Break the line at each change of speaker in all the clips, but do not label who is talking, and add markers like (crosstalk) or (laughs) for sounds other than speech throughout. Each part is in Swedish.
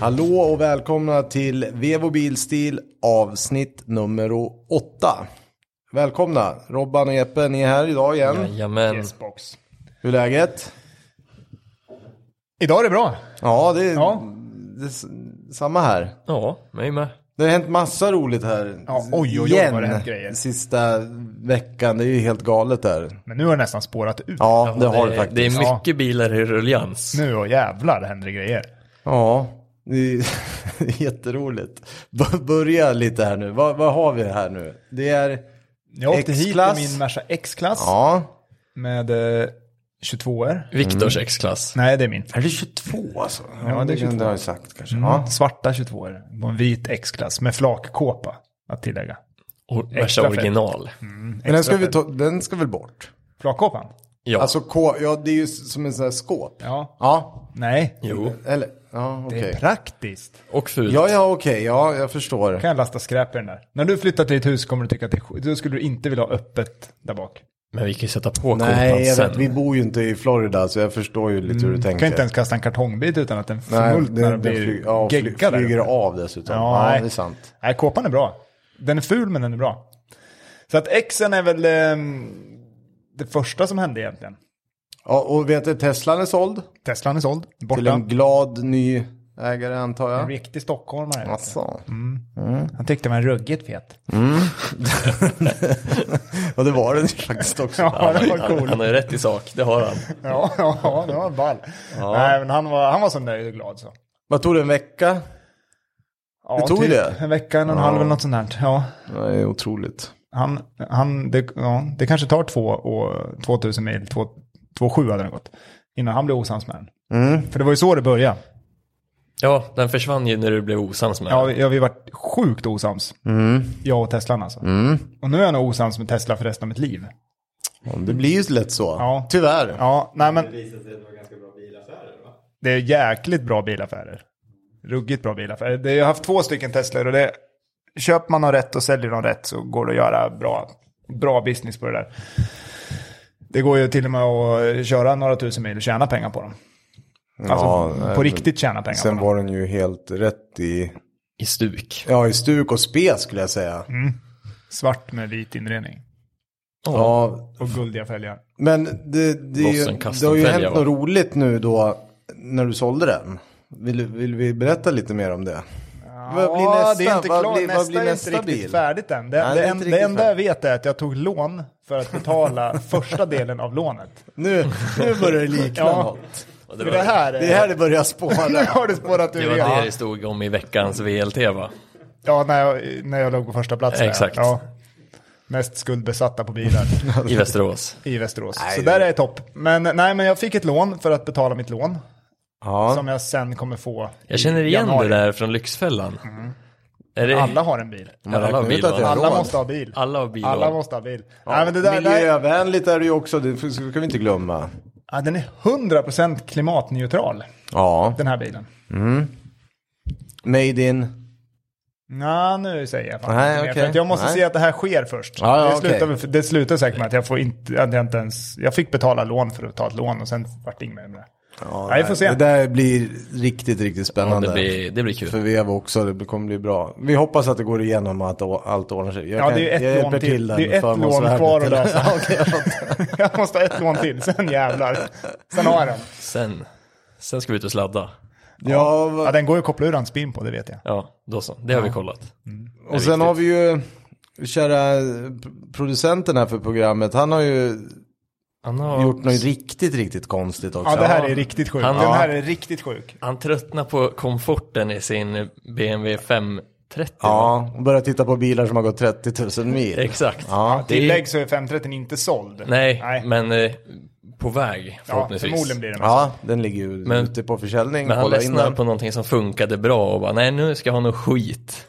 Hallå och välkomna till Vevo Bilstil avsnitt nummer 8. Välkomna, Robban och Jeppe, ni är här idag igen.
Jajamän.
Yes, box.
Hur är läget?
Idag är det bra.
Ja, det är
Ja.
det är s- samma här.
Ja, mig med.
Det har hänt massa roligt här.
Ja, oj, oj, oj,
igen,
vad det har hänt grejer.
Sista veckan, det är ju helt galet där.
Men nu har det nästan spårat ut.
Ja, det har det faktiskt.
Det är
Ja.
mycket bilar i ruljans.
Nu och jävlar händer det grejer.
Ja, det är (laughs) jätteroligt. B- Börja lite här nu. Vad, vad har vi här nu? Det är...
Jag åkte
X-klass.
hit i min Merca X-klass
Ja.
med eh, 22 er
Mm.
Viktors X-klass.
Nej, det är min.
Är det 22 alltså?
Ja, det är 22.
Det har jag sagt kanske. Ja.
Svarta 22 er på en vit X-klass med flakkåpa att tillägga.
Och
Extra
Värsta
fett.
original.
Men den ska, vi ta, den ska väl bort?
Flakkåpan?
Ja,
Alltså, K, ja, det är ju som en sån här skåp.
Ja.
Ja.
Nej,
jo.
Eller, ja, okej.
det är praktiskt.
Och fult.
Ja, ja, okej. Ja, jag förstår.
Kan jag lasta skräp i den där. När du flyttar till ditt hus kommer du tycka att det är skit. Då skulle du inte vilja ha öppet där bak.
Men vi kan ju sätta på
Nej,
kåpan
jag vet,
sen.
vi bor ju inte i Florida, så jag förstår ju lite hur du
Du
tänker.
Mm, kan inte ens kasta en kartongbit utan att den
Nej,
förmultnar och
den, den
blir
fly, ja, fly,
geggad där
flyger
uppe.
av dessutom.
Ja,
Ja,
nej.
det är sant.
Nej, kåpan är bra. Den är ful men den är bra. Så att Xen är väl ehm, det första som hände egentligen.
Ja, och vet du, Teslan är såld
Teslan är såld,
till
borta. Mm.
en
En
glad ny ägare antar jag.
riktig stockholmare.
Alltså.
Han tyckte den var ruggigt fet.
Ja, det var den ju faktiskt också.
Ja, det var
Han,
cool.
han har ju rätt i sak, det har han.
Ja, ja, det var ball. Nej, men han var, han var så nöjd och glad så.
Vad tog det, en vecka?
Ja,
Det tog
typ
det.
En vecka, en och en halv eller något sånt där. Ja,
Det är otroligt.
han, han, det, ja, det kanske tar två och 2000 mil, två, två sju hade den gått. Innan han blev osams med den.
Mm.
För det var ju så det började.
Ja, den försvann ju när du blev osams med
Ja,
den.
vi, ja, vi varit sjukt osams. Jag och Teslan alltså. Och nu är jag nog osams med Tesla för resten av mitt liv.
Ja, Det blir ju lätt så.
Ja.
Tyvärr.
Ja, nej men... Det Det är jäkligt bra bilaffärer. Ruggigt bra bilaffärer. Det- Jag har haft två stycken Teslor och det... Köper man dem rätt och säljer dem rätt så går det att göra bra, bra business på det där. Det går ju till och med att köra några tusen mil och tjäna pengar på dem. Alltså
nej,
på
men-
riktigt tjäna pengar på
Sen
dem.
var den ju helt rätt i,
I stuk.
ja, i stuk och spe skulle jag säga.
Mm.
Svart med vit inredning.
Ja,
Och guldiga fälgar.
Men det, det, är ju,
Lossen
det
custom
har ju
fälgar,
hänt
va?
något roligt nu då när du sålde den. Vill, vill vi berätta lite mer om det? vad blir nästa?
Det är inte
vad
klart.
blir,
nästa,
vad blir nästa
är inte riktigt
bil?
färdigt än. Det,
Nej, det
det,
är
en,
inte
det
riktigt
enda jag vet är att jag tog lån för
(laughs)
att betala första delen av lånet.
Nu, nu börjar det likna
(laughs) Ja.
något.
Och
Det, det här är...
Det är här det börjar spåra.
har du spårat
det
ur
var
igen.
det det stod om i veckans VLT va?
Ja, när jag, när jag låg på första plats. där.
Exakt.
Ja. Mest skuldbesatta
(laughs)
på bilar
I Västerås.
i Västerås.
Nej,
Så
det-
där är jag i topp. Men nej, men jag fick ett lån för att betala mitt lån.
Ja.
Som jag sen kommer få
Jag känner igen
januari.
det där från Lyxfällan. Är det...
Alla har en bil.
Ja, alla har
Mm. räknar ut
bil
att jag-
va?
Alla
Råd.
måste ha bil.
Alla har bil.
Alla
va?
måste ha bil. Nej, men det där, där,
Miljövänligt är det ju också, det f- ska vi inte glömma.
Ja, den är 100% klimatneutral,
Ja.
den här bilen.
Made in.
Nå, nu säger jag fan
Nej,
inte mer,
okej.
för att Jag måste
Nej.
se att det här sker först.
Ja, ja,
det, slutar,
okej.
väl- för- det slutar säkert med att jag, får inte, att jag inte ens... Jag fick betala lån för att ta ett lån och sen vart det inget mer med det.
Ja,
Nej, vi får se.
Det där blir riktigt, riktigt
Ja,
spännande.
det, blir, det blir
För
kul.
Vevo också, det kommer bli bra. Vi hoppas att det går igenom och att å- allt ordnar sig. Jag
Ja, det är ju ett
jag
lån
hjälper
till.
där
Det är ju
med
ett lån
förmånsvärdet,
kvar att
eller?
lösa.
(laughs) Ja, okej, jag fattar.
(laughs) Jag måste ha ett lån till, sen jävlar. Sen har jag den.
Sen, sen ska vi ut och sladda.
ja, vad-
Ja, den går ju att koppla ur hans spin på, det vet jag.
Ja, då så. Det har vi kollat.
Och sen har vi ju kära producenten här för programmet. Han har ju
Han har...
gjort något riktigt, riktigt konstigt också.
Ja, det här är riktigt sjukt.
Han-
Den här är riktigt sjuk.
Han tröttnar på komforten i sin BMW 530. va?
Ja, och börjat titta på bilar som har gått 30 000 mil.
Exakt.
Ja,
det är-
Tillägg så är 530 inte såld.
Nej,
Nej.
men eh, på väg
ja,
förhoppningsvis.
förmodligen blir den
ja den ligger ju
Men-
ute på försäljning.
men han
Kolla in
ledsnade
den.
på någonting som funkade bra och bara nej nu ska jag ha något skit.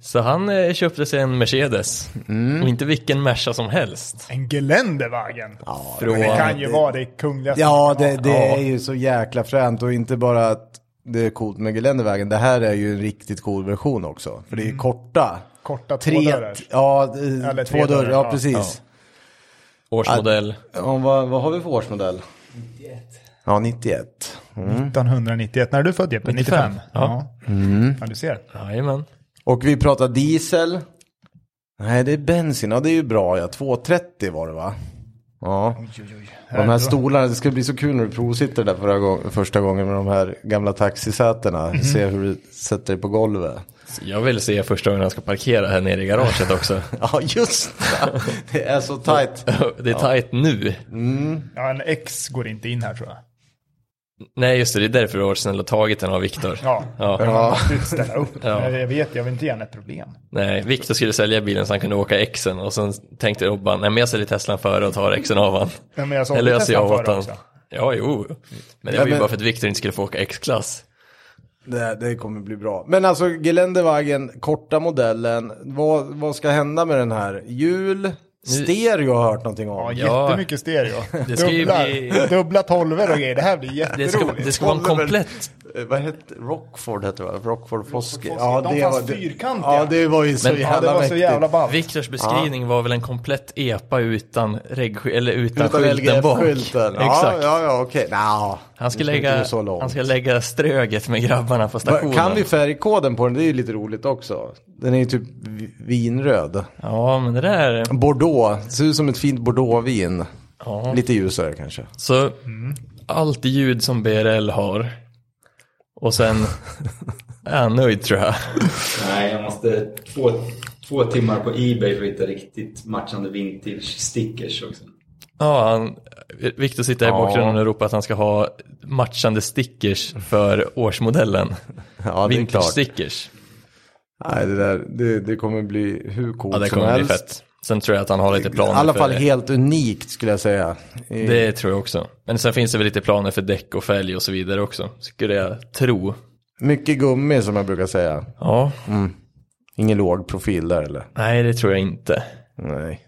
Så han eh, köpte sig en Mercedes.
Mm.
Och inte vilken Merca som helst.
En Geländewagen.
Ja,
Från-
det kan ju
det-
vara det kungliga.
Ja, det, det
Ja.
är ju så jäkla fränt och inte bara att det är coolt med geländevägen. Det här är ju en riktigt cool version också. För det är Mm. korta.
Korta
Tre,
tvådörrar.
ja, eh,
Eller
två
tredörrar,
dörrar, ja
ja.
precis.
Årsmodell.
Ja, vad, vad har vi för årsmodell? 91. Ja, 91.
Mm.
1991. När är du född Jeppe? 95?
95.
Ja.
Mm.
ja, du ser.
Jajamän.
Och vi pratar diesel. Nej, det är bensin. Ja, det är ju bra. Ja. 2,30 var det va? Ja.
Oj, oj, oj.
Och de här stolarna, det ska bli så kul när du provsitter där förra gång, första gången med de här gamla taxisätena. Se hur du sätter dig på golvet.
Jag vill se första gången han ska parkera här nere i
(laughs)
garaget också.
Ja, just det. Det är så tajt.
Det är tajt nu. Mm.
Ja, en X går inte in här tror jag.
Nej, just det, det är därför du har varit snäll och tagit den av Viktor.
Ja,
Ja.
Ja.
Absolut ställa upp.
Ja.
Jag vet, jag vill inte gärna ett problem.
Nej, Viktor skulle sälja bilen så han kunde åka Xen och sen tänkte Robban, nej men jag säljer Teslan före och tar Xen av han.
Nej, men jag sa
Det
inte
löser
Teslan
jag åt
före
han.
också.
Ja, jo. Men det
Ja,
var ju
men-
bara för att Viktor inte skulle få åka X-klass.
Det, det kommer bli bra. Men alltså Geländewagen, korta modellen. Vad, vad ska hända med den här? Hjul, stereo har jag hört någonting
Ja,
om.
Ja.
jättemycket stereo.
Det ska ju
dubbla,
bli-
dubbla tolvor och grejer. Det här blir
Det ska,
jätteroligt.
det ska vara en
Oliver.
komplett.
Eh, Vad hette Rockford hette det va? Rockford Fosky.
Fosky. De fanns fyrkantiga.
Ja, det var ju så
Men-
jävla
Ja, det var så
mäktigt.
jävla ballt.
Viktors beskrivning var väl en komplett epa utan, regg, eller utan,
Utan
skylten bak.
LGF-skylten. Ja,
Exakt.
ja, ja, okej. Nja,
Han, ska
det inte gå
lägga,
så långt.
han ska lägga ströget med grabbarna på
Va,
stationen.
Kan vi färgkoden på den? Det är ju lite roligt också. Den är ju typ vi- vinröd.
Ja, men det där.
Bordeaux. Det ser ut som ett fint bordeauxvin.
Ja.
Lite ljusare kanske.
Så
Mm.
allt ljud som BRL har. Och sen är han nöjd tror jag.
Nej, jag måste två, två timmar på Ebay för att hitta riktigt matchande vintage-stickers också.
Ja, han, Viktor sitter här i
Ja.
bakgrunden och ropar att han ska ha matchande stickers för årsmodellen.
Ja, det är klart.
Vintage-stickers.
Nej, det, där, det, det kommer bli hur coolt
Ja, det
som
kommer bli
helst.
fett. Sen tror jag att han har lite
I
planer
alla
för
fall
det.
helt unikt skulle jag säga. I-
Det tror jag också. Men sen finns det väl lite planer för däck och fälg och så vidare också. Skulle jag tro.
Mycket gummi som jag brukar säga. Mm.
Ja.
Ingen låg profil där eller?
Nej, det tror jag inte.
Nej.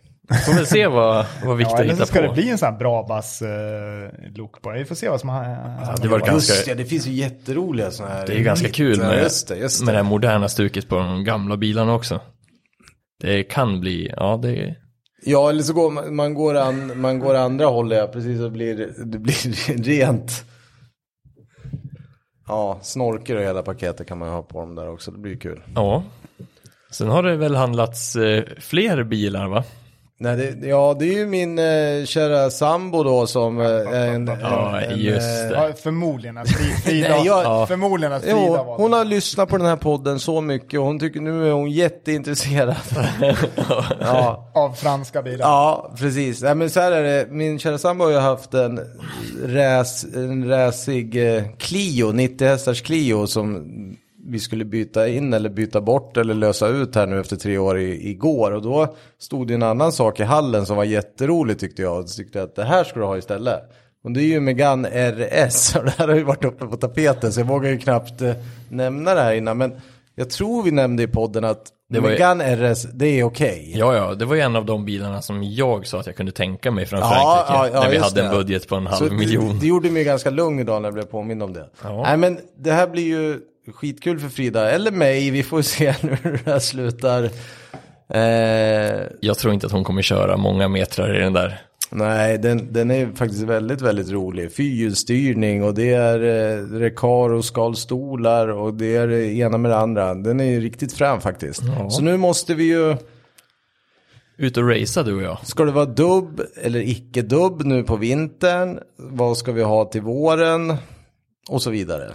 Får väl se vad, vad
(laughs)
Ja,
Viktor
eller så
hittar
ska
på.
det bli en sån här Brabas-look på det. Vi får se vad som händer.
det var ganska-
Just ja, det finns ju jätteroliga sådana här.
Det är ju ganska kul
Ja,
med,
just det, just
med
det.
det här moderna stuket på de gamla bilarna också. Det kan bli, ja det
Ja, eller så går man, man, går, an, man går andra hållet, ja, precis, och blir, det blir (laughs) rent. Ja, snorker och hela paketet kan man ha på dem där också, det blir ju kul.
ja. Sen har det väl handlats eh, fler bilar va?
Nej, det, ja, det är ju min eh, kära sambo då som eh, är en...
Ja,
en,
just det.
eh, Ja, förmodligen
(laughs)
att Fri- Frida,
Nej, jag-
ja. förmodligen att Frida
Jo,
var
hon har lyssnat på den här podden så mycket och hon tycker nu är hon jätteintresserad. ja.
av franska bilar.
Ja, precis. Nej, men så här är det. Min kära sambo har ju haft en, räs, en räsig eh, Clio, 90 hästars Clio som vi skulle byta in eller byta bort eller lösa ut här nu efter tre år i, igår. Och då stod det en annan sak i hallen som var jätterolig tyckte jag. Och tyckte att det här ska du ha istället. Och det är ju Megane RS (laughs) och det här har ju varit uppe på tapeten så jag vågar ju knappt eh, nämna det här innan. Men jag tror vi nämnde i podden att
Det var ju-
Megane RS, det är okej.
Ja, ja, det var ju en av de bilarna som jag sa att jag kunde tänka mig från
Ja,
Frankrike.
ja, ja,
när vi
just
hade en
det.
budget på en
Så
halv miljon.
Det, det gjorde mig ganska lugn idag när jag blev påmind om det.
Ja.
Nej men det här blir ju skitkul för Frida, eller mig, vi får se (laughs) nu hur det här slutar. Eh,
Jag tror inte att hon kommer köra många metrar i den där.
nej, den, den är faktiskt väldigt, väldigt rolig. Fyrhjulsstyrning och det är eh, rekar och skalstolar och det är det ena med det andra. Den är ju riktigt fram faktiskt. Så nu måste vi ju...
Ut och racea du och jag.
Ska det vara dubb eller icke dubb nu på vintern? Vad ska vi ha till våren? Och så vidare.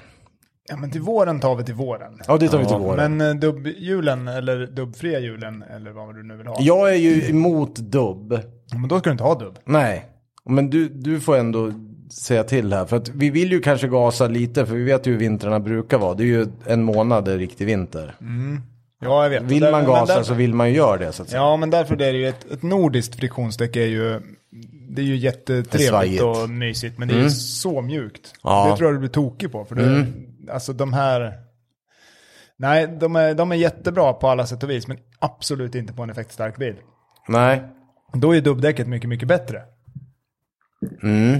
Ja, men till våren tar vi till våren.
Ja, det tar vi till våren.
Men eh, dubbhjulen eller dubbfria hjulen eller vad du nu vill ha.
Jag är ju emot dubb.
Ja, Men då ska du inte ha dubb.
Nej, men du, du får ändå säga till här. För att vi vill ju kanske gasa lite, för vi vet ju hur vintrarna brukar vara. Det är ju en månad är riktig vinter.
Ja, jag vet.
Vill
Där-
man
men
gasa
där-
Mm. så vill man ju göra det så att säga.
Ja, men därför det är det ju ett, ett nordiskt friktionsdäck är ju det är ju jättetrevligt
Svajigt. Mm.
och mysigt, men det är ju så mjukt.
Ja. Mm.
Det tror jag du blir tokig på, för det, alltså de här, nej, de är, de är jättebra på alla sätt och vis, men absolut inte på en effektstark bil.
Nej,
Då är dubbdäcket mycket, mycket bättre.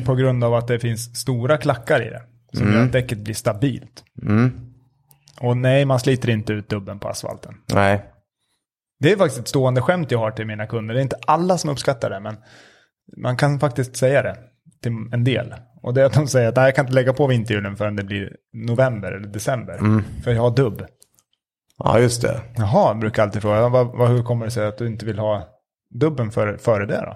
På grund av att det finns stora klackar i det, som gör att däcket blir stabilt. Och nej, man sliter inte ut dubben på asfalten.
nej.
Det är faktiskt ett stående skämt jag har till mina kunder. Det är inte alla som uppskattar det, men man kan faktiskt säga det. till en del. Och det är att de säger att "Nej, jag kan inte lägga på vinterhjulen förrän det blir november eller december. För jag har dubb.
Ja, just det.
Jaha, brukar jag alltid fråga. Vad, vad, hur kommer det sig att du inte vill ha dubben före före det då?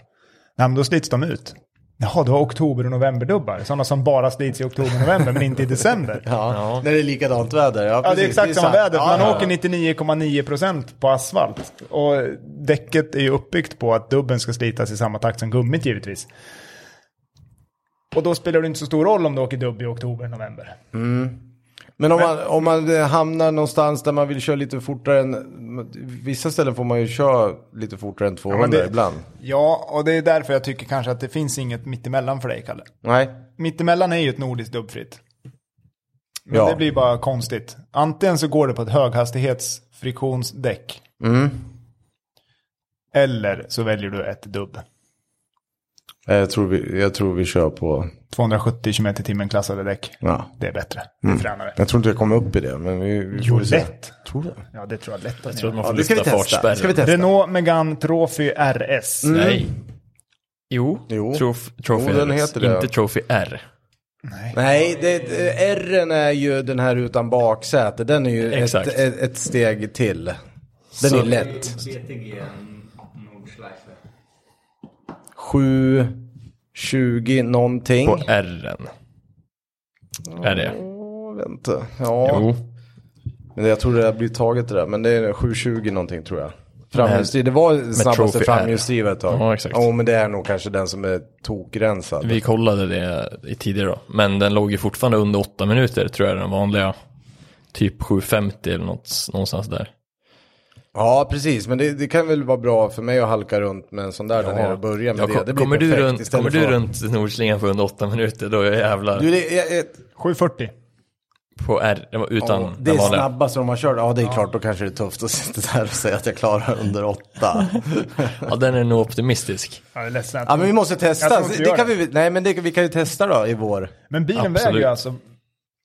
Nej, men då slits de ut. Jaha, du har oktober och novemberdubbar. Sådana som bara slits i oktober och november, men inte i december. (laughs) Ja,
Ja. När det är likadant väder. Ja,
det är
precis.
exakt samma
sant.
väder.
Ja,
Man
ja.
åker 99,9% på asfalt. Och däcket är ju uppbyggt på att dubben ska slitas i samma takt som gummit givetvis. Och då spelar det inte så stor roll om du åker dubb i oktober och november.
Men om man, om man eh, hamnar någonstans där man vill köra lite fortare än... Vissa ställen får man ju köra lite fortare än 200
Men det-
ibland.
Ja, och det är därför jag tycker kanske att det finns inget mittemellan för dig, Kalle.
Nej.
Mittemellan är ju ett nordiskt dubbfritt. Men
Ja.
det blir bara konstigt. Antingen så går det på ett höghastighetsfriktionsdäck.
Mm.
Eller så väljer du ett dubb.
Eh, Jag tror vi, jag tror vi kör på...
270 km i timmen klassade däck.
Ja.
Det är bättre. Det är fränare.
Mm. Jag tror inte jag kommer upp i det, men vi, vi
Jo,
får se.
lätt.
Tror du?
Ja, det tror jag lätt. att
Jag tror att
ni
man
Ja,
får
det ska vi
lyfta
testa.
fartspärren.
Ska vi testa?
gör. Renault Megane Trophy RS.
Mm.
Nej. Mm. Jo,
Jo.
Trof- Trophy
Jo, den
R.
heter det.
Inte Trophy R.
Nej, det, R är ju den här utan baksäte. Den är ju ett,
Exakt.
ett, ett steg till. Den
Så-
är lätt.
BTG Nordschleife.
7, 20 någonting.
På R. Är det?
Åh, vänta. Ja,
Jo.
men jag tror det där blir taget det där. Men det är 720 någonting tror jag. Framhjulsdriv, det var det
Trophy
snabbaste
R.
framhjulsdrivet ett tag.
Ja, exakt.
Ja, men det är nog kanske den som är tokrensad.
Vi kollade det i tidigare då. Men den låg ju fortfarande under åtta minuter tror jag den vanliga. Typ 7.50 eller något, någonstans där.
Ja, precis. Men det, det kan väl vara bra för mig att halka runt med en sån där där nere och börja med
Ja,
det.
kom-
Det blir
kommer du
perfekt
runt,
istället
kommer du
för-
runt Nordslingan på under åtta minuter då är jag jävlar
Du, det, jag, jag,
740.
på R det var utan
Ja, det
den
är
vanliga.
snabba som de har kört. Ja, det är klart, då kanske det är tufft att sitta där och säga att jag klarar under
(laughs)
åtta.
Ja, den är nog optimistisk.
Jag är ledsen. att-
ja, men vi måste
Jag
testa.
tror inte
Det
jag
kan
det.
vi, nej, men det, vi kan ju testa då i vår.
Men bilen
Absolut.
väger ju alltså...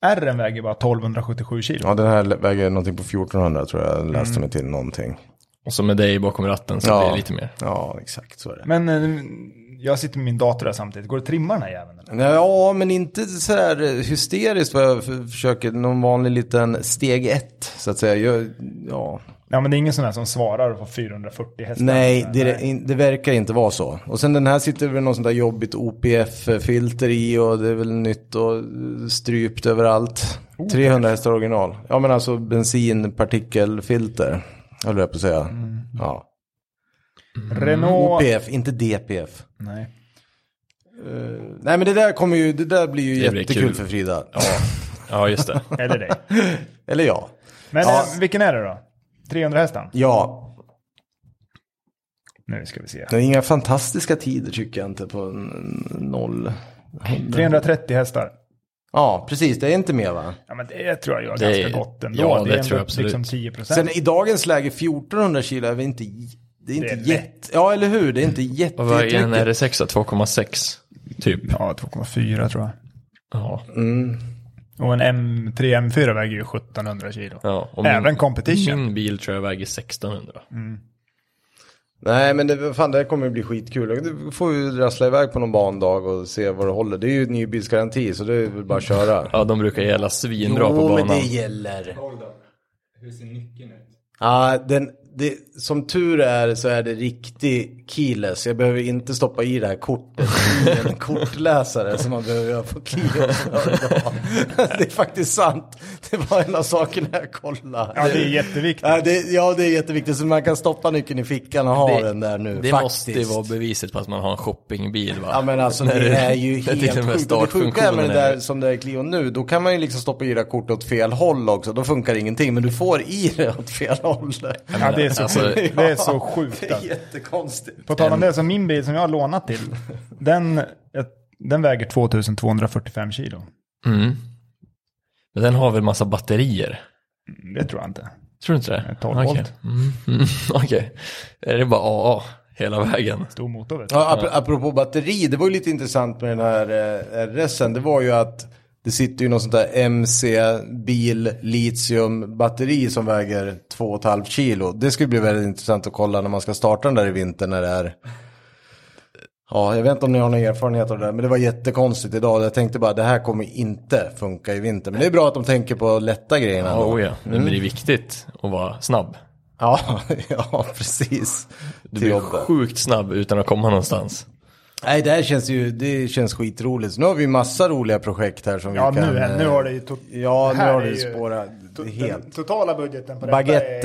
R väger bara 1277 kilo.
Ja, den här väger någonting på 1400 tror jag. Läste mig till någonting.
Och så med dig bakom ratten så
Ja.
blir det lite mer.
Ja, exakt så är det.
Men eh, jag sitter med min dator här samtidigt. Går det att trimma den här jäveln? Eller?
Ja, men inte så här hysteriskt vad jag f- försöker. Någon vanlig liten steg ett, så att säga. Jag, ja.
Ja, men det är ingen sån här som svarar på 440 hästar.
Nej, det, in- det verkar inte vara så. Och sen den här sitter väl någon sån där jobbigt OPF-filter i och det är väl nytt och eh, strypt överallt. 300 hästar original. Ja men alltså bensinpartikelfilter. Höll jag på att säga. Ja.
Renault...
OPF, inte DPF.
Nej.
Nej men det där kommer ju, det där blir ju
Det blir
jättekul
kul.
för Frida.
Ja, just det.
Eller dig.
(laughs) Eller ja.
Men
(laughs) Ja.
eh, vilken är det då? 300 hästar?
Ja,
Nu ska vi se.
det är inga fantastiska tider tycker jag inte på en- en noll.
330 hästar.
Ja, precis. Det är inte mer va?
Ja, men det tror jag gör
Det är-
ganska gott ändå.
ja, det
är ändå
tror jag absolut.
Liksom 10 procent.
Sen i dagens läge 1400 kilo är väl inte... Det är inte
är lätt.
jätte... Ja, eller hur? Det är inte jätte...
Och vad är en
jättemycket.
R6 då? 2,6 typ.
Ja, 2,4 tror jag.
Ja.
Mm.
Och en M3 M4 väger ju 1700 kilo.
ja. och
Även competition.
Min bil tror jag väger 1600.
Nej, men det, fan, det här kommer ju bli skitkul. Du får ju rassla iväg på någon bandag och se vad det håller. Det är ju ny bilsgaranti, så det är väl bara att köra.
Ja, de brukar gälla svinbra på
men det
banan.
gäller.
Hold up. Hur ser nyckeln ut?
Ja, den, det, som tur är så är det riktig keyless. Jag behöver inte stoppa i det här kortet i
(laughs)
en kortläsare som man behöver göra på Clio. (laughs) Det är faktiskt sant. Det var en av sakerna jag kollade.
Ja, det är jätteviktigt.
Ja det, ja, det är jätteviktigt. Så man kan stoppa nyckeln i fickan och ha
Det-
den där nu.
Det
faktiskt.
måste ju vara beviset på att man har en shoppingbil va?
Ja men alltså
När
det är ju
(laughs) när till och
helt
med
sjukt. Och Det sjuka är med det
startfunktionen är-
där som det är Clio nu, då kan man ju liksom stoppa i det här kortet åt fel håll också. Då funkar ingenting, men du får i det åt fel håll.
Ja, det är så
Alltså-
sjukt. Det är så sjukt. alltså.
Det är (laughs) jättekonstigt.
På tal om det, så min bil som jag har lånat till, den, den väger 2245 kilo.
Mm. Men den har väl massa batterier?
Det tror jag inte.
Tror du inte det?
12
Okej.
volt.
Mm. Mm. (laughs) Okej. Är det bara AA hela vägen?
Stor motor vet du.
Ja, ap- apropå batteri, det var ju lite intressant med den här eh, RSen. Det var ju att det sitter ju någon sånt där MC-bil litiumbatteri som väger 2,5 kilo. Det skulle bli väldigt intressant att kolla när man ska starta den där i vinter när det är Ja, jag vet inte om ni har någon erfarenhet av det där, men det var jättekonstigt idag. Jag tänkte bara, det här kommer inte funka i vinter. Men det är bra att de tänker på lätta grejerna.
Ja,
ändå.
oh ja. Det
Mm.
blir viktigt att vara snabb.
Ja, (laughs) ja, precis.
Du
Till
blir
jobbet.
sjukt snabb utan att komma någonstans.
Nej, det här känns ju, det känns skitroligt. Så nu har vi massa roliga projekt här som
Ja,
vi kan...
nu, är- nu
eh,
har det ju... tot-
Ja, nu
här
har
är
det
ju
spårat
to- Den
helt.
totala budgeten på
Baguetten. (laughs)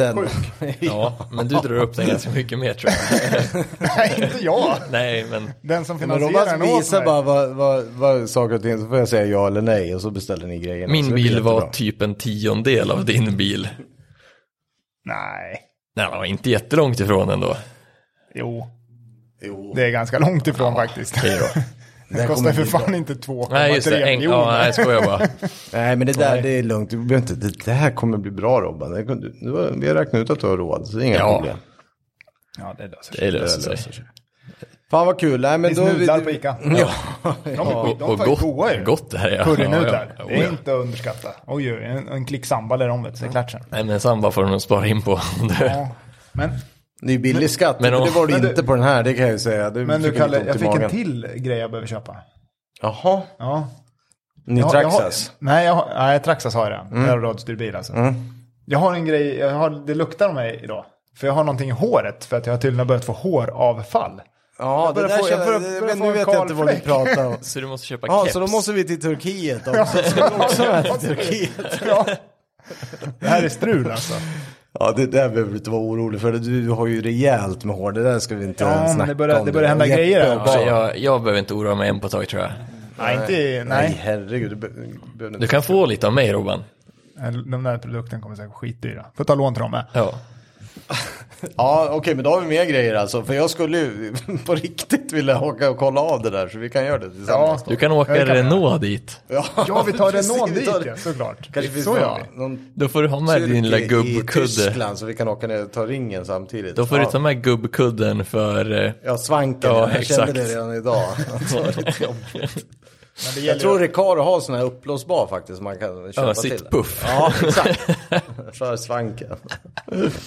detta är sjuk.
Ja, men du drar upp den ganska mycket mer tror jag.
(laughs) Nej, inte jag.
Nej, men
Den som
Men
finansierar den
Robban
åt
visar
mig.
bara vad, vad, vad saker och ting, så får jag säga ja eller nej och så beställer ni grejerna. så
min
det blir
bil var
jättebra.
typ en tiondel av din bil.
Nej,
Nej, den var inte jättelångt ifrån ändå.
jo.
Jo,
Det är ganska långt ifrån faktiskt. (laughs)
Det är då.
det
Det
här
kostar
kommer
för
bli
fan
bra.
inte 2,3
Nej, just det. En, ja, nej, jag skojar bara.
Nej, men det där det är lugnt. Du behöver inte, det, det här kommer bli bra Robban. Det, kunde- det var- vi har räknat ut att du har råd, så det är inga
Ja.
problem.
Ja, det löser
Det
sig.
löser sig.
Fan vad kul. Nej, men
Det
då,
är snudlar på Ica.
Ja.
De,
Och,
de
och
var ju goa
gott,
ju.
gott det här är.
Currynudlar.
Ja, ja.
Det
Oh,
är
ja.
inte att underskatta. Oj, oj, en, en klick sambal är omvänt. Det är klart sen.
Nej, men samba får de nog spara in på. (laughs) Det-
Ja. Men,
Det är ju billig skatt, men,
Men om-
det var det
Men du-
inte på den här, det kan jag ju säga. Du
men du
fick lite
Kalle,
ont
jag
i
fick en
magen.
till grej jag behöver köpa.
Jaha,
Ja.
ni
Jag har- jag har-
traxas. Mm.
Nej, jag har, nej, Traxas har jag redan. Jag har radstyrd bil alltså. Jag har en grej, jag har, det luktar om mig idag. För jag har någonting i håret, för att jag har tydligen börjat få håravfall. (laughs)
Ja, det
börjar
där
få- jag
känner,
börjar-
det-
börjar
men
få
nu
en
vet jag inte vad ni
kalfläck.
pratar
(laughs)
om.
Så du måste köpa
Ja,
keps.
så då måste vi till Turkiet också. Ska vi också vara till Turkiet.
Ja. Det här är strul alltså.
(laughs) Ja, det där behöver du inte vara orolig för. Du har ju rejält med hår. Det där ska vi inte
Ja,
ens
men
snacka
det börjar-
om.
det börjar hända
Jeppe
grejer här.
också.
Ja, jag, jag behöver inte oroa mig en på tag tror jag.
Nej, inte
Nej,
i- nej.
herregud. Du be- behöver inte-
Du kan få lite av mig Robban.
De där produkterna kommer säkert skitdyra. Får ta lån till dem med.
Ja.
Ja, okej, men då har vi mer grejer alltså. För jag skulle ju (laughs) på riktigt vilja åka och kolla av det där. Så vi kan göra det tillsammans.
Du kan åka
Ja, det kan jag.
Renault dit.
Ja,
Ja, vi tar
(laughs) precis,
Renault
vi
dit
tar-
ja, såklart.
Kanske finns
så
någon-
ja.
någon
Då får du ha med din lilla
kyrka i
gubbkudde.
Tyskland så vi kan åka ner och ta ringen samtidigt.
Då får
ja.
du ta med gubbkudden för... eh,
Ja, svanken.
Ja,
jag kände
exakt.
det redan
(laughs)
idag. Att det var lite jobbigt.
Men det
Jag
gäller
tror Recaro har sån här uppblåsbar faktiskt. Man kan köpa
Ja,
till.
sitt puff.
Ja,
(laughs)
exakt. För svanken.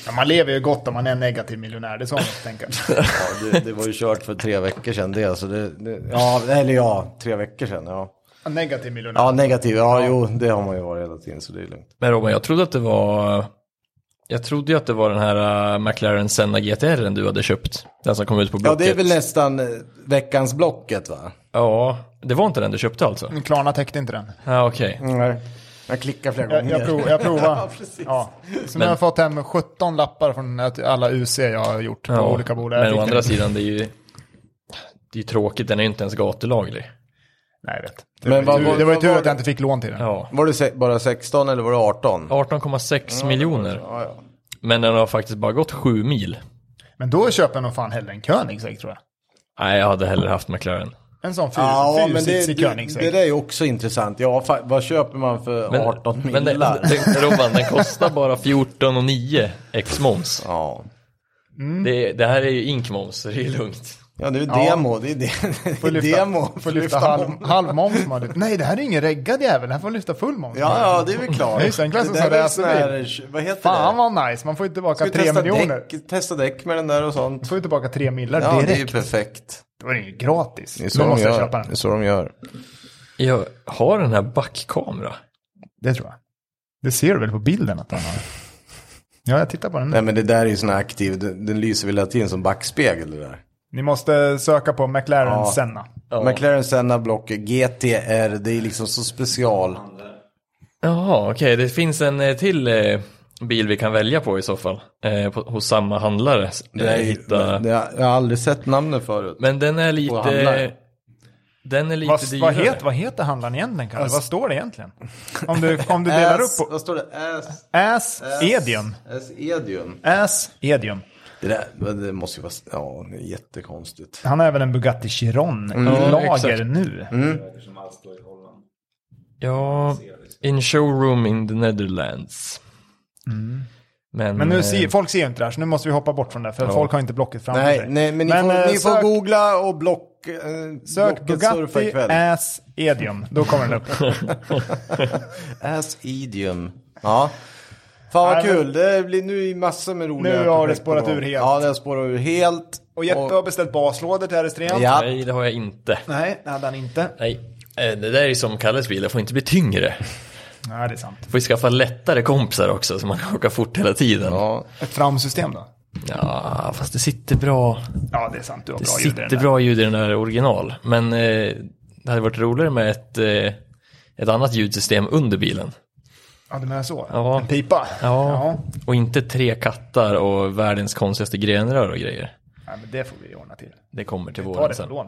ja, man lever ju gott om man är en negativ miljonär. Det är så man
(laughs)
måste tänka.
Ja, det, det var ju kört för tre veckor sedan det. Så det, det ja, eller ja, tre veckor sedan. Ja,
En negativ miljonär.
ja negativ. Ja, jo, det har man ju varit hela tiden så det är lugnt.
Men Robban, jag trodde att det var... Jag trodde ju att det var den här eh, McLaren Senna GTR du hade köpt. Den som kom ut på
Ja,
blocket.
det är väl nästan eh, veckans Blocket va?
Ja, det var inte den du köpte
Mm.
alltså?
Men Klarna täckte inte den.
Ja, okej.
Nej. Jag klickar flera
Jag,
gånger.
jag, prov,
(laughs)
jag provar. ja,
precis.
Så nu har jag fått hem 17 lappar från att- alla UC jag har gjort på
Ja,
olika bolag. Jag
Men å
fick
andra
den-
sidan, det är ju... Det är ju tråkigt, den är ju inte ens gatulaglig.
Nej, jag vet. Det,
Men
var,
vad-
ju-
vad-
det var ju
vad
tur
var
att
det?
jag inte fick lån till den.
Ja.
Var det se- bara 16 eller var det 18?
18,6 miljoner.
Ja, ja.
Men den har faktiskt bara gått 7 mil.
Men då köper jag nog fan hellre en Koenigsegg tror jag.
Nej, jag hade hellre haft McLaren.
En sån fyr,
Ja, men det,
fyrsitsig
det, det
Koenigsegg.
där är ju också intressant. Ja, fa- vad köper man för 18
men det,
millar?
det, Robban, den kostar bara 14 och 9 ex moms.
Ja. Mm.
Det, det här är ju ink moms, så det är lugnt.
ja, det är ju
Ja.
demo. Det är, de- det
Får
är
lyfta,
demo.
får lyfta halv, halv moms. man lyfter. Nej, det här är ingen reggad jävel. Den här får lyfta full moms.
Ja, ja, det är väl klart.
Det är ju så en klass som
där
sa
är ju
racerbil.
sån här- Vad heter
Fan
det?
vad nice, man får ju tillbaka
Ska vi
3
testa
miljoner.
däck, testa däck med den där och sånt.
Man får ju tillbaka 3 millar
Ja, det är ju
direkt.
perfekt.
Då är det ju gratis.
Det är så,
Då
de
måste jag
gör.
köpa
Det
den.
är så de gör.
Jag har den här backkamera.
Det tror jag. Det ser du väl på bilden att han har? Ja, jag tittar på den nu.
Nej, men det där är ju sån här aktiv. Den, den lyser väl hela tiden som backspegel det där.
Ni måste söka på McLaren
Ja.
Senna.
McLaren Senna Block GTR. Det är liksom så special.
Jaha, okej. Det finns en eh, till eh, bil vi kan välja på i så fall. Eh, på, hos samma handlare. Eh,
Det är,
hitta.
det, jag har aldrig sett namnet förut.
Men den är
handlare.
lite... Den är lite
Vad,
dyrare.
vad, heter, vad heter handlaren egentligen, Kalle?
Alltså-
Vad står det egentligen? Om du, om du delar upp
Ass, (laughs)
på...
vad står det? Ass,
Ass Edium.
ass Edium.
Ass Edium.
Det där det måste ju vara, ja, det är jättekonstigt.
Han har även en Bugatti Chiron i
Mm.
lager
exakt.
nu.
Som allt står i Holland.
Ja, in showroom in the Netherlands. Men,
Mm. Men
Mm.
eh,
nu ser, folk ser ju inte det här, så nu måste vi hoppa bort från det, för folk har inte blocket framför
Nej,
sig.
nej, men ni
eh,
får, ni får
sök-
googla och block, eh,
Sök
blocket surfa
Bugatti
ikväll.
Ass
(laughs)
Edium. Då kommer den upp.
Ass Edium. Ja. Fan vad
Nej, men-
kul, det blir nu är massor med roliga
Nu har det
projekt på
spårat
gång.
ur helt.
Ja, det har spårat ur helt.
Och Jeppe har beställt baslådor till RS3.
Ja.
Nej, det har jag inte.
Nej, det hade han inte.
Nej, eh, det där är ju som Kalles bil, det får inte bli tyngre.
Nej, det är sant.
Får ju skaffa lättare kompisar också så man kan åka fort hela tiden. Ja,
Ja.
Ett framsystem då?
fast det sitter bra.
Ja, det är sant. Du har
Det
bra ljud i den
sitter
där.
bra ljud i den där original. Men eh, det hade varit roligare med ett, eh, ett annat ljudsystem under bilen.
Ja, du menar så?
Ja.
En pipa?
Ja. Och inte tre kattar och världens konstigaste grenrör och grejer.
Nej, men det får vi ordna till.
Det kommer till
Ta
våren
det på
sen.
lån.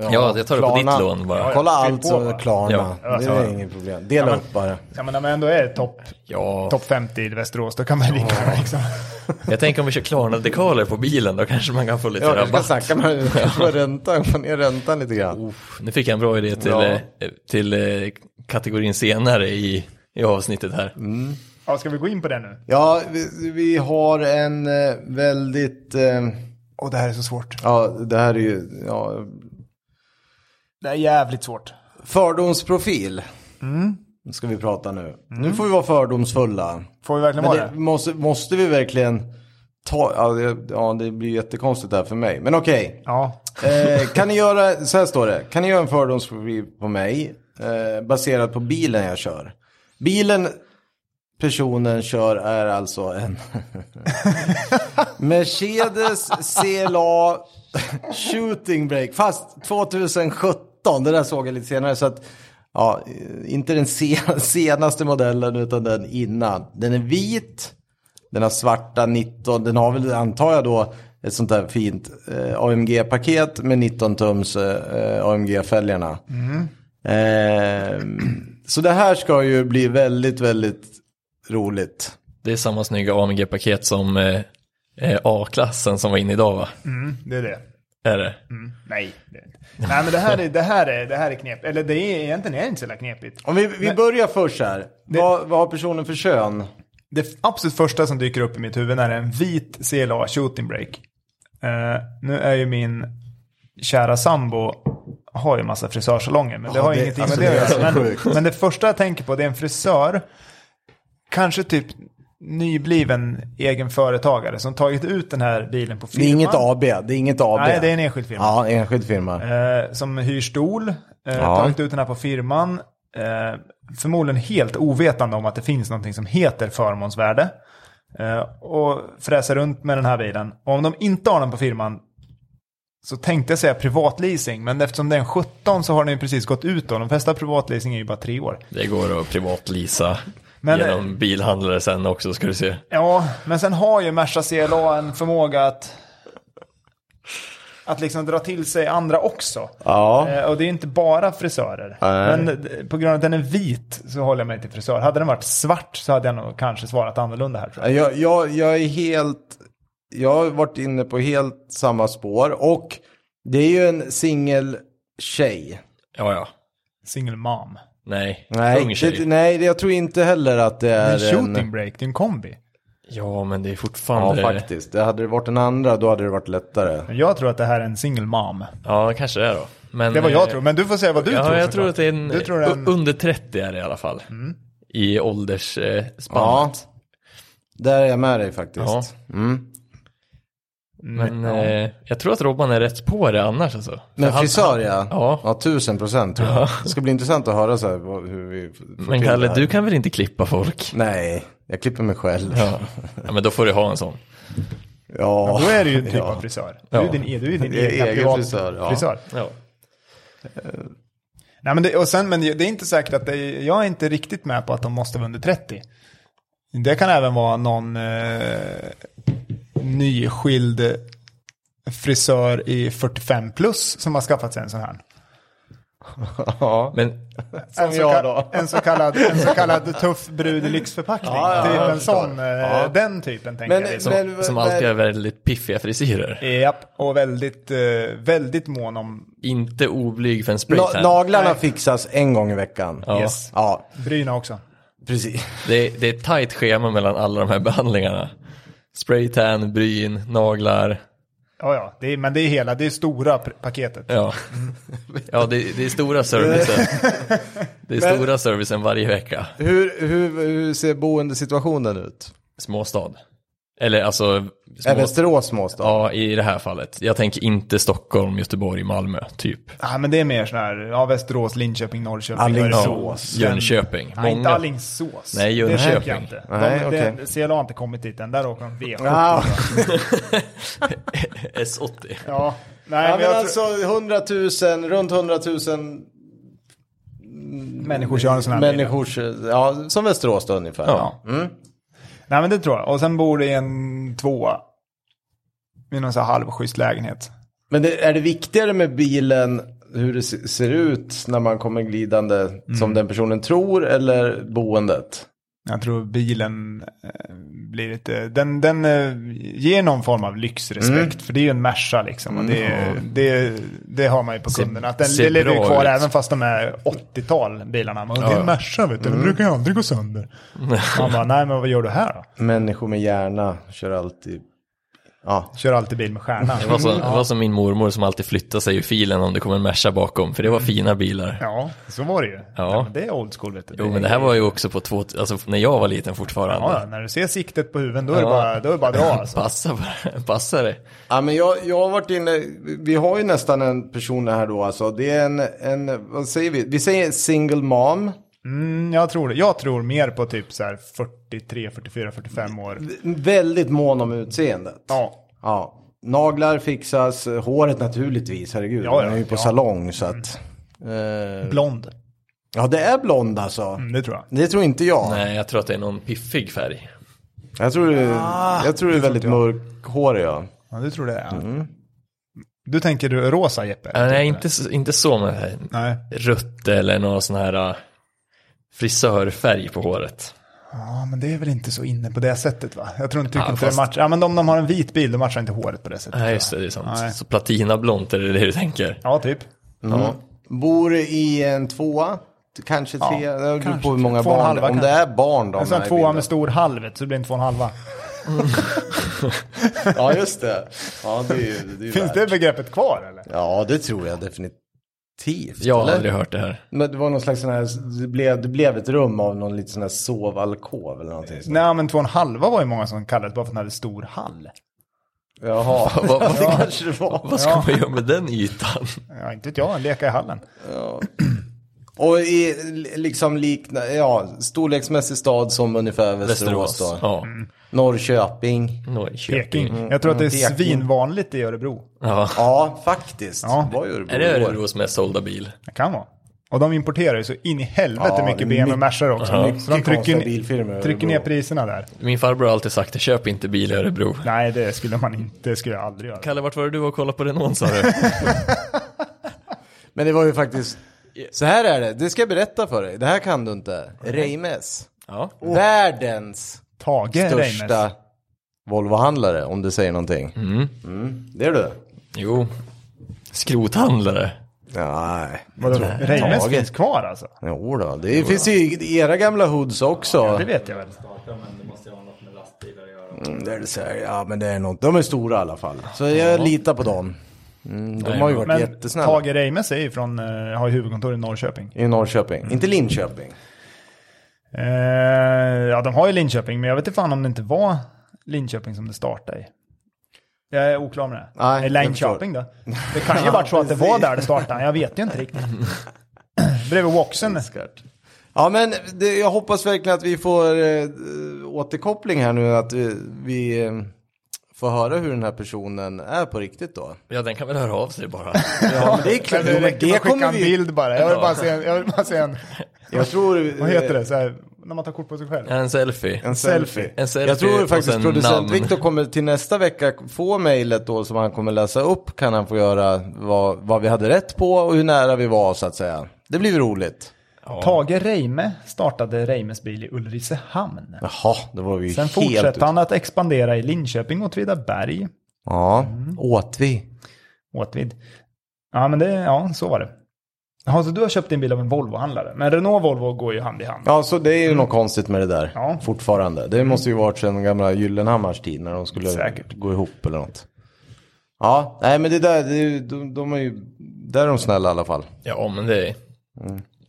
Ja, jag tar det på
Klarna.
ditt lån bara.
Ja,
Kolla
Fyll
allt
på
som
bara.
Klarna.
Ja.
det är inget problem. Dela
Ja, men-
upp bara.
Ja, men om jag ändå är topp
Ja,
topp 50 i Västerås, då kan man lika gärna liksom.
jag tänker om vi kör Klarna-dekaler på bilen, då kanske man kan få lite
Ja, jag ska
rabatt.
snacka med (laughs) på räntan, få ner räntan lite grann.
Nu fick jag en bra idé till,
Ja.
eh, till eh, kategorin senare i, i avsnittet här.
Mm. Ja, ska vi gå in på det nu?
Ja, vi, vi har en eh, väldigt, eh,
Och det här är så svårt.
ja det här är ju, ja,
Det är jävligt svårt.
fördomsprofil. Nu ska vi prata nu. Nu får vi vara fördomsfulla.
Får vi verkligen
Men
vara det?
det, måste, måste vi verkligen ta, ja det, ja det blir jättekonstigt här för mig. Men okej.
Ja.
Eh, kan ni göra, så här står det. Kan ni göra en fördomsprofil på mig eh, baserad på bilen jag kör? Bilen personen kör är alltså en (laughs) Mercedes CLA Shooting Brake. Fast 2017, det där såg jag lite senare. Så att, ja, eh, inte den se- (laughs) senaste modellen utan den innan. Den är vit. Den har svarta 19, den har väl antar jag då ett sånt där fint eh, AMG-paket med 19-tums eh, AMG-fälgarna. Eh, så det här ska ju bli väldigt, väldigt roligt.
Det är samma snygga AMG-paket som eh, eh, A-klassen som var inne idag va?
Mm, det är det.
Är det?
Mm. Nej, det är inte. Nej, men det här är, det här är, det här är knep. Eller det är egentligen är det inte så jävla knepigt.
Om vi, vi börjar först här. Vad, vad har personen för kön?
Det absolut första som dyker upp i mitt huvud är en vit CLA shooting break. Eh, nu är ju min kära sambo har ju massa frisörsalonger, men det har ju
det-
ingenting
alltså,
med det,
det är
att göra.
så
Men, men det första jag tänker på det är en frisör, kanske typ nybliven egen företagare som tagit ut den här bilen på
Det
firman.
är inget AB. Det är inget AB.
Nej, det är en enskild firma.
Ja, enskild firma.
Eh, som hyr stol, eh,
Ja.
tagit ut den här på firman. Eh, förmodligen helt ovetande om att det finns någonting som heter förmånsvärde. Eh, och fräser runt med den här bilen. Och om de inte har den på firman så tänkte jag säga privatleasing, men eftersom det är en 17 så har den ju precis gått ut då. De flesta privatleasing är ju bara tre år.
Det går att privatleasa
Men- eh,
genom bilhandlare sen också ska du se.
Ja, men sen har ju Merca CLA en förmåga att, att liksom dra till sig andra också.
Ja.
Eh, Och det är inte bara frisörer.
Nej.
Men eh, på grund av att den är vit så håller jag mig till frisör. Hade den varit svart så hade jag nog kanske svarat annorlunda här tror jag.
eh, Jag, jag, jag är helt... Jag har varit inne på helt samma spår. Och det är ju en singeltjej.
Ja, ja.
Single mom.
Nej, ung
Nej,
tjej.
det, nej, jag tror inte heller att det
En
är en...
shooting break, det är en kombi.
Ja, men det är
Ja,
fortfarande...
faktiskt. Det hade det varit den andra, då hade det varit lättare.
Men jag tror att det här är en single mom.
Ja, kanske det är då. Men,
Det var
eh,
jag tror, men du får säga vad du
ja,
tror.
jag
såklart.
tror att det är en,
Du tror det är en- Mm.
u- under 30 är det i alla fall. I eh, åldersspannet.
Ja. Där är jag med dig faktiskt.
Ja.
Mm.
Men eh, jag tror att Robban är rätt på det annars alltså.
Mm.
För
Men
han-
frisör ja.
Ja.
tusen procent tror jag. Det ska bli intressant att höra så här, vad- hur vi f- får
Men
till det
Kalle,
här.
du kan väl inte klippa folk?
Nej, jag klipper mig själv.
Ja. ja, men då får du ha en sån.
Ja.
Då är det ju en typ av frisör. Du är
Ja.
din, du är din
Det är
egna
egen
privat
frisör, ja.
frisör.
Ja.
Nej, men det, och sen, men det är inte säkert att det, jag är inte riktigt med på att de måste vara under 30. Det kan även vara någon eh, nyskild frisör i 45 plus som har skaffat sig en sån här.
Ja.
Men
En
Som
så,
jag
kall-
då.
en så kallad, en
(laughs)
så kallad tuff brud i lyxförpackning.
Ja, ja,
typ
jag
en sån, eh,
Ja.
den typen tänker
Men-
jag. Liksom.
som,
Men-
som
men-
alltid har väldigt piffiga frisyrer.
Japp, och väldigt, eh, väldigt mån om,
Inte oblyg för en
Na-
spraytan.
naglarna fixas en gång i veckan.
Ja.
yes,
Ja,
bryna också.
precis.
Det, är- det är ett tajt schema mellan alla de här behandlingarna. Spraytan, bryn, naglar.
Ja, ja. Det är, men det är hela, det är stora p- paketet.
Ja, ja det, det är stora servicen. Det är stora servicen varje vecka.
Hur, hur, hur ser boendesituationen ut?
Småstad. Eller alltså...
Är
Små...
Västerås småstad?
Ja, i det här fallet. Jag tänker inte Stockholm, Göteborg, Malmö, typ.
Nej, men det är mer sån här, ja, Västerås, Linköping, Norrköping,
Alingsås.
Örebro.
Jönköping.
Nej, inte
Många.
Alingsås.
Nej,
Det
Jönköping.
tänker jag inte.
Nej,
de,
okej.
det, CLA har inte kommit dit än, där åker de V. Ja.
Ah,
S80.
ja. Nej,
ja,
men
men
jag
alltså 100 000, runt 100 000
tror, människor kör en sån här bil.
människors, ja, som Västerås då ungefär.
Ja.
Mm.
Nej, men det tror jag. Och sen bor det i en tvåa. I någon sån här halvschysst lägenhet.
Men det, är det viktigare med bilen hur det se- ser ut när man kommer glidande
Mm.
som den personen tror eller boendet?
Jag tror bilen eh, blir lite, den, den eh, ger någon form av
Mm.
lyxrespekt. För det är ju en Merca liksom. Och det, det, det har man ju på kunderna. Att den
ser
det lever ju
bra
kvar
ut.
även fast de är 80-tal bilarna. Man, det är en Merca vet du,
Mm.
den brukar ju aldrig
(laughs)
gå sönder. Man bara, nej men vad gör du här då?
Människor med hjärna kör alltid, ja,
Kör alltid bil med stjärna.
Det var, som, det var som min mormor som alltid flyttade sig ur filen om det kom en Merca bakom, för det var
Mm.
fina bilar.
Ja, så var det ju.
Ja.
men det är old school vet du.
Jo, men det här var ju också på två, alltså när jag var liten
Ja,
fortfarande.
ja, när du ser siktet på huven då är det
Ja.
bara, då är det bara att dra alltså.
Passa, bara- (laughs) passa det.
Ja, men jag, jag har varit inne, vi har ju nästan en person här då alltså. Det är en, en vad säger vi? Vi säger single mom.
Mm, jag, tror, det. jag tror mer på typ så här 43, 44, 45 år.
Mm.
Väldigt mån om utseendet.
Ja,
Ja. Naglar fixas, håret naturligtvis, herregud.
Ja, ja,
Den är ju på
ja. Mm.
salong så att. eh,
blond.
ja, det är blond alltså.
Mm, det tror jag.
Det tror inte jag.
Nej, jag tror att det är någon piffig färg.
Jag tror, jag tror Ah, det är väldigt mörkhårig. Ja.
Ja, du tror det. Ja.
Mm.
Du tänker du rosa Jeppe?
Ja, Nej, inte, så- inte så med
Nej.
rött eller någon sån här äh, frisörfärg på håret.
Ja, men det är väl inte så inne på det sättet va? Jag tror inte, tycker
Ja,
inte
fast-
det matchar. Ja, men om de har en vit bil, då matchar inte håret på det sättet.
Nej, just det, det är sant.
Nej.
Så platinablont, är det det du tänker?
Ja, typ.
Ja.
Mm. Bor i en tvåa, kanske tre. det beror
kanske
på hur många
två och en
barn.
halva
Om det
kanske.
är barn då.
En sån
med
här
i
tvåa
bilden.
med stor halvet, så det blir en två och en halva.
Ja, just det. Ja, det är ju, det är ju
(laughs) Finns
värt.
det begreppet kvar eller?
Ja, det tror jag definitivt.
Jag har
eller?
aldrig hört det här.
Men det var någon slags sån här, det blev, det blev ett rum av någon lite sån här sovalkov eller någonting. sånt.
Nej, men två och en halva var ju många som kallade det bara för att den hade stor hall.
Jaha,
Vad- vad-
det (laughs) kanske det var.
(laughs) Vad ska man göra med den ytan?
Ja, inte vet jag, en leka i hallen.
Och i, liksom likna, ja, storleksmässig stad som ungefär Västerås,
Västerås.
då.
Ja.
Norrköping.
Norrköping.
Peking. Jag tror att det är
Peking.
svinvanligt i Örebro.
Ja.
Ja, faktiskt.
Ja.
Var ju Örebro
Är det
i år.
Örebros mest sålda bil?
Det kan vara. Och de importerar ju så in i helvete
Ja,
mycket BMW och Mercar också.
mycket
så de
konstiga
trycker,
bilfirmor i
ner- trycker ner
Örebro.
priserna där.
Min farbror har alltid sagt det, köp inte bil i Örebro.
Nej, det skulle man inte. Det skulle jag aldrig göra.
Kalle, vart var det du var och kollade på Renault sa du?
Men det var ju faktiskt, så här är det, det ska jag berätta för dig. Det här kan du inte. Reimes.
(laughs) Ja.
Världens
Tage Reimers.
största Volvo-handlare, om du säger någonting. Mm, Det är du.
Jo. Skrothandlare.
Nej.
Vadå? Reimers
Tage.
finns kvar alltså?
Jo då, det finns ju i era gamla hoods också.
Det vet jag väl.
Starta, men det måste ju ha något med lastbilar att göra.
Mm, Det är det så här, ja men det är något. De är stora i alla fall. Så jag litar på dem. Mm, de har ju varit
Men
jättesnälla.
Tage Reimers är ju från, eh, har ju huvudkontor i Norrköping.
I Norrköping. Inte Linköping.
Eh, ja, de har ju Linköping, men jag vet inte fan om det inte var Linköping som det startade i. Jag är oklar med det.
Nej,
Eh,
jag
Linköping då? Det kan ju ha varit så att
(laughs)
det var där det startade, jag vet ju inte riktigt. Bredvid Woxen.
Ja men det, jag hoppas verkligen att vi får eh, återkoppling här nu. Att vi, vi eh, får höra hur den här personen är på riktigt
(laughs)
då.
Ja, den kan väl höra av sig bara.
Ja men det är klart.
Det räcker med att skicka en bild bara. Jag vill bara
Ja.
se en, jag vill bara
(laughs)
se en
Jag tror...
(laughs) vad heter det, så här, när man tar kort på sig själv.
En selfie.
En selfie.
En selfie
jag tror
och
faktiskt
sen
producent
namn.
Viktor kommer till nästa vecka få mejlet då som han kommer läsa upp. Kan han få göra vad, vad vi hade rätt på och hur nära vi var så att säga. Det blir roligt.
Tage Reime startade Reimes bil i Ulricehamn.
Jaha, det var vi ju
Sen
helt
fortsatte
ute.
han att expandera i Linköping och Åtvidaberg.
Ja, åt vi.
Åtvid. Ja, men det, ja, så var det. Jaha, så du har köpt din bil av en Volvo-handlare. Men Renault och Volvo går ju hand i hand.
Ja, så det är ju något konstigt med det där
Mm. Ja. Mm.
fortfarande. Det måste ju varit sedan gamla Gyllenhammars tid när de skulle
Säkert.
gå ihop eller något. Ja, nej men det där, det, är ju- de, de är ju, där är de snälla i alla fall.
Ja, men det är...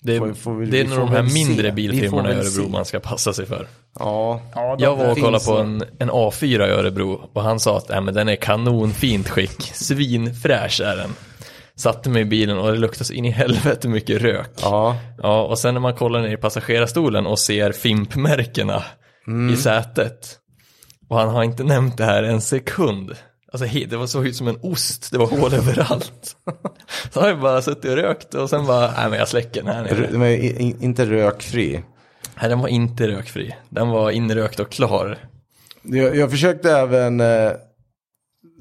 Det är,
Får- får vi-
det är
vi
nog
får
de här
väl se.
mindre
Vi får
bilfirmorna i
väl
Örebro
se.
man ska passa sig för.
Ja,
Ja, de,
Jag var och
finns
kollade på
så.
en, en A4 i Örebro och han sa att "Nej, men den är kanonfint skick, svinfräsch är den. Satte mig i bilen och det luktade så in i helvete mycket rök.
ja.
Ja, och sen när man kollar ner i passagerarstolen och ser fimpmärkena
Mm.
i sätet. Och han har inte nämnt det här en sekund. Alltså he- det var- såg ut som en ost, det var hål (laughs) överallt. Så har jag bara suttit och rökt och sen bara, nej men jag släcker den här nere.
Rö- De är ju i- i- inte rökfri.
Nej, den var inte rökfri. Den var inrökt och klar.
Jag, jag försökte även eh,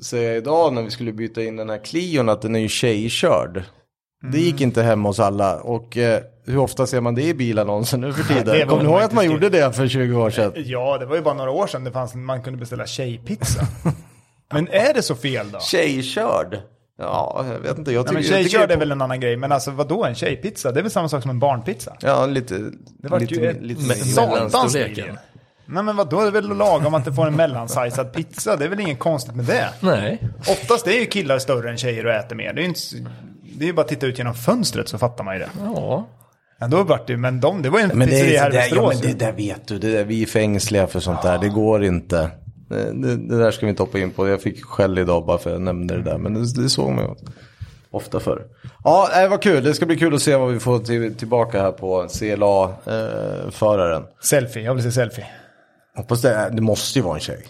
säga idag när vi skulle byta in den här Clion att den är ju tjejkörd. Det gick
Mm.
inte hem hos alla och eh, hur ofta ser man det i bilannonser nu för
det var
tiden? Kommer ni
nog
ihåg
inte
att man
stort.
gjorde det för 20 år sedan?
ja, det var ju bara några år sedan det fanns, man kunde
(laughs)
beställa tjejpizza. Men är det så fel då?
Tjejkörd? Ja, jag vet inte. Jag
Nej,
tycker,
men
jag tycker
tjejkörd
det
är
är-
väl en annan grej, men alltså vadå en tjejpizza? Det är väl samma sak som en barnpizza?
Ja, lite...
Det var
lite,
ju ett
lite
Men-
mindre.
satans
mellanstorleken.
midje. Nej men vadå, det är väl lagom att du får en mellansizad pizza? Det är väl inget konstigt med det?
Nej.
Oftast är ju killar större än tjejer och äter mer. Det är ju, inte, s- det är ju bara att titta ut genom fönstret så fattar man ju det.
Ja.
Ja, då vart det ju- men de, det var ju en
Men det,
pizzeria
är,
här i
det, ja,
Västerås.
men det där vet du, det där, vi är fängsliga för sånt där, det går inte. Det, det, det där ska vi inte hoppa in på, jag fick skäll idag bara för att jag nämnde det där, men det, det såg man ju ofta förr. Ja, nej, vad kul, det ska bli kul att se vad vi får till, tillbaka här på eh, CLA-föraren.
Selfie, jag vill se selfie.
Hoppas det, det måste ju vara en tjej.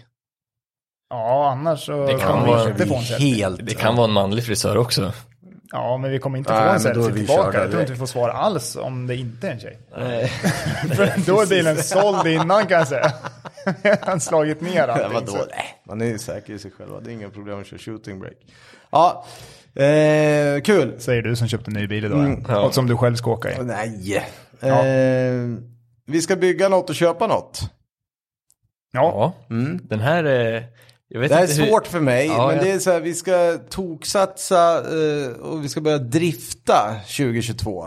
Ja, annars så
Det kan
kommer
vara-
vi inte få en selfie.
Helt.
Det kan vara en manlig frisör också.
Ja, men vi kommer inte få
Nej,
en
men då är
selfie
vi
tillbaka.
körda
Jag tror
direkt.
inte vi får svar alls om det inte är en tjej. (laughs) För då är bilen såld innan kan jag säga. (laughs) Han slagit ner
Ja,
allting.
vadå?
så-
Nej, man är ju säker i sig själva. Det är inga problem att köra shooting break. Ja, eh, kul.
Säger du som köpte en ny bil idag.
Mm,
ja. Och som du själv ska åka i.
Nej. Eh, vi ska bygga något och köpa något.
Ja,
Ja. Den här... eh, Jag vet
Mm. Det här är
inte hur-
svårt för mig,
Ja,
men
jag-
det är så här, vi ska toksatsa eh, och vi ska börja drifta 2022.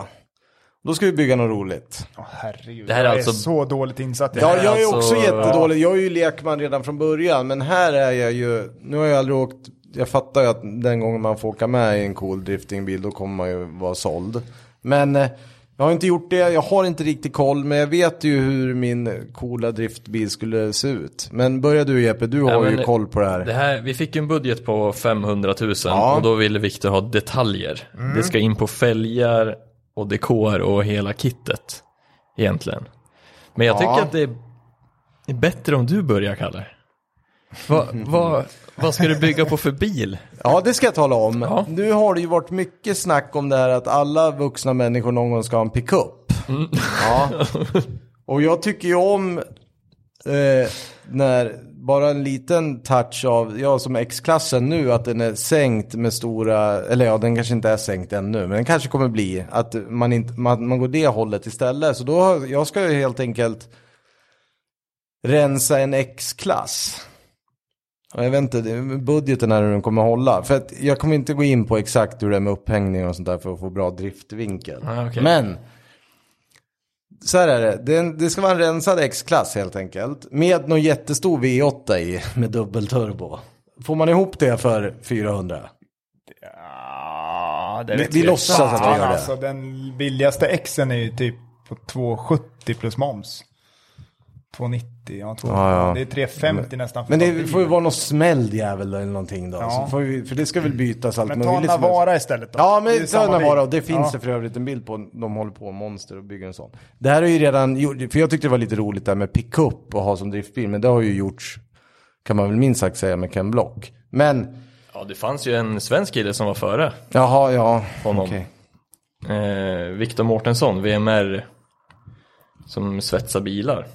Då ska vi bygga något roligt.
Åh, herregud.
Det här är
jag
alltså-
är så dåligt insatt i det
Ja,
här.
jag är också
alltså-
jättedålig. Jag är ju lekman redan från början, men här är jag ju... Nu har jag aldrig åkt... Jag fattar ju att den gången man får åka med i en cool driftingbil, då kommer man ju vara såld. Men eh, jag har inte gjort det, jag har inte riktigt koll, men jag vet ju hur min coola driftbil skulle se ut. Men börja du Jeppe, du har
men
ju koll på det här.
Det här, vi fick en budget på 500 000
Ja.
och då ville Viktor ha detaljer. Det ska in på fälgar och dekor och hela kittet egentligen. Men jag tycker att det är- är bättre om du börjar Kalle. Vad vad- vad ska du bygga på för bil?
Ja, det ska jag tala om.
Ja.
Nu har det ju varit mycket snack om det här att alla vuxna människor någon gång ska ha en pickup. Ja. Och jag tycker ju om eh, när bara en liten touch av, ja som X-klassen nu, att den är sänkt med stora, eller ja den kanske inte är sänkt ännu, men den kanske kommer bli att man, inte, man, man går det hållet istället. Så då, har- jag ska ju helt enkelt rensa en X-klass. Ja, Jag vet inte, det- budgeten är hur den kommer hålla. För att jag kommer inte gå in på exakt hur det är med upphängning och sånt där för att få bra driftvinkel.
Ah, okej.
Men, så här är det. det. är en- Det ska vara en rensad X-klass helt enkelt. Med någon jättestor V8 i, med dubbelturbo. Får man ihop det för 400?
Ja, det är
Vi-
rätt
vi
trevligt.
låtsas att vi
Fan,
gör det.
Alltså, den billigaste exen är ju typ på 270 plus moms. 290, ja, 290.
Ja, ja.
Det är 350 nästan. För
Men
en
det
bil.
får ju vara någon smäll jävel eller någonting då.
Ja.
Så får vi, för det ska väl bytas allt
men ta
möjligt som helst.
Navara istället då.
Ja,
Det är
men ta
samma
den
bil.
vara och det finns
Ja.
det för övrigt en bild på. De håller på med monster och bygger en sån. Det här är ju redan gjort, för jag tyckte det var lite roligt där med pickup och ha som driftbil, men det har ju gjorts, kan man väl minst sagt säga, med Ken Block. Men,
Ja, det fanns ju en svensk kille som var före
jaha, ja, okej.
honom. Eh, Viktor Mårtensson, VMR, som svetsar bilar.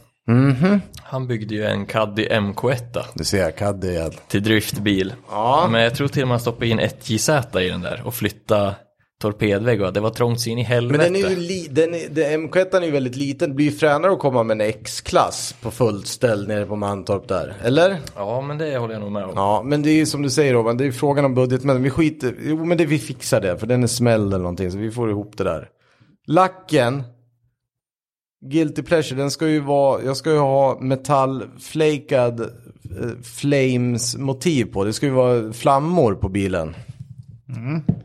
Han byggde ju en Caddy MK1.
Du ser, jag Caddy igen.
till driftbil.
Ja.
Men jag tror till och med han stoppade in ett JZ i den där och flytta torpedvägg och det var trångt så in i helvete.
Men den är ju, li, den är, den, M1 är ju väldigt liten, det blir ju fränare att komma med en X-klass på fullt ställ nere på Mantorp där, eller?
Ja, men det håller jag nog med om.
Ja, men det är ju som du säger Robin, det är ju frågan om budget. Men vi skiter, jo men det, vi fixar det, för den är smäll eller någonting, så vi får ihop det där. Lacken, Guilty Pleasure, den ska ju vara, jag ska ju ha metallflakad eh, flames-motiv på. Det ska ju vara flammor på bilen.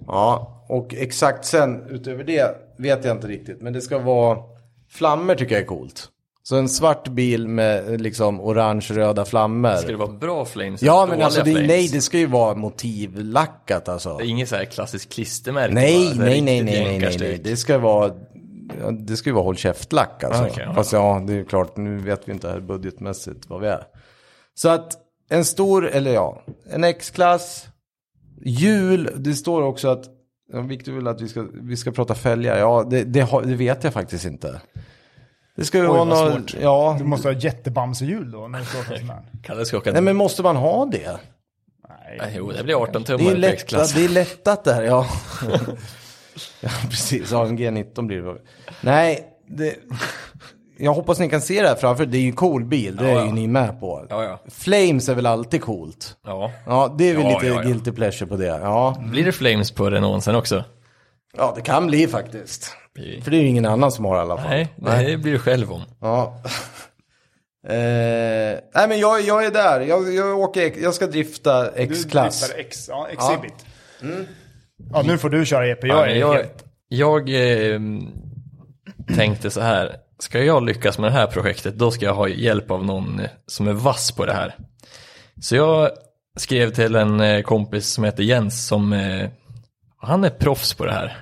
Ja, och exakt sen utöver det vet jag inte riktigt. Men det ska vara, flammor tycker jag är coolt. Så en svart bil med eh, liksom orange-röda flammor.
Ska det vara bra flames?
Ja,
eller
men
dåliga
alltså det,
flames?
nej, det ska ju vara motivlackat alltså.
Det är inget så här klassiskt klistermärke?
Nej,
bara, så här
nej, nej,
riktigt
nej, nej, nej,
jänkarstyg.
nej. Det ska vara... ja, Det ska ju vara håll käft-lack alltså.
Ah, okej, ja.
Fast ja, det är ju klart, nu vet vi inte här budgetmässigt vad vi är. Så att en stor, eller ja, en X-klass, jul, det står också att, ja, Victor vill att vi ska, vi ska prata fälgar, ja det, det, har, det vet jag faktiskt inte. Det ska ju vara
vad
något,
svårt.
ja,
Du måste ha jättebamsehjul då när du står för sån här.
Kalle ska åka...
nej men måste man ha det?
Nej, Jo, det blir 18
Det är, ju
tummar i
lätt,
X-klass.
det är lättat där, ja. (laughs) ja precis, AMG 19 blir det. Nej, det, jag hoppas ni kan se det här framför Det är ju en cool bil, det
Ja,
är ju
ja.
ni med på.
Ja, ja.
Flames är väl alltid coolt?
Ja.
Ja, det är väl
Ja,
lite
ja, ja.
guilty pleasure på det. Ja.
Blir det flames på Renault sen också?
ja, det kan bli faktiskt.
Blir-
För det är ju ingen annan som har i alla fall.
Nej, det blir du själv om.
Ja. (laughs) Eh, nej men jag, jag är där, jag, jag, åker, jag ska drifta
Du
X-klass.
dribblar X, ja, exhibit.
Mm.
Ja, nu får du köra EP. Jag
Ja,
är
men jag,
helt...
jag eh, tänkte så här, ska jag lyckas med det här projektet då ska jag ha hjälp av någon som är vass på det här. Så jag skrev till en eh, kompis som heter Jens som, eh, han är proffs på det här.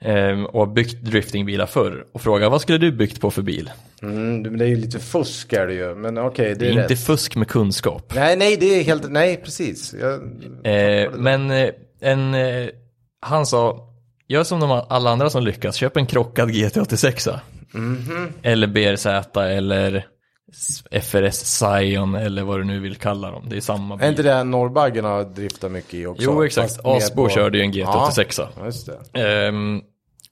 Eh, och har byggt driftingbilar förr och frågade vad skulle du byggt på för bil?
Mm, men det är ju lite fusk är det ju, men okej det är rätt.
Inte fusk med kunskap.
Nej, nej, det är helt, nej, precis. Jag,
Eh, men eh, en, eh, han sa, gör som de, alla andra som lyckas, köp en krockad GT86.
Mhm.
Eller BRZ eller S- FRS Scion eller vad du nu vill kalla dem. Det är samma
är inte
bil.
det norrbaggen har driftat mycket i också?
Jo exakt,
Fast mer
Asbo
på-
körde ju en GT86.
Ja, just det.
Ehm,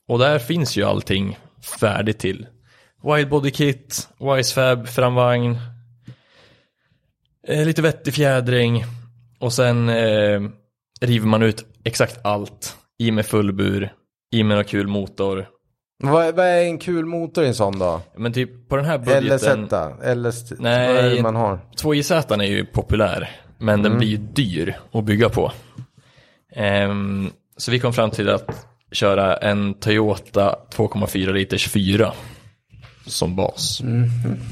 och där finns ju allting färdigt till. Widebody kit, Wisefab, framvagn, eh, lite vettig fjädring och sen eh, river man ut exakt allt. I med fullbur, i med någon kul motor.
Vad, vad är en kul motor i en sån då?
Men typ på den här
LZ?
budgeten,
LS?
Nej.
Vad är det man har?
2JZ är ju populär, men
Mm.
den blir ju dyr att bygga på. Ehm, så vi kom fram till att köra en Toyota 2,4 liters 4 som bas.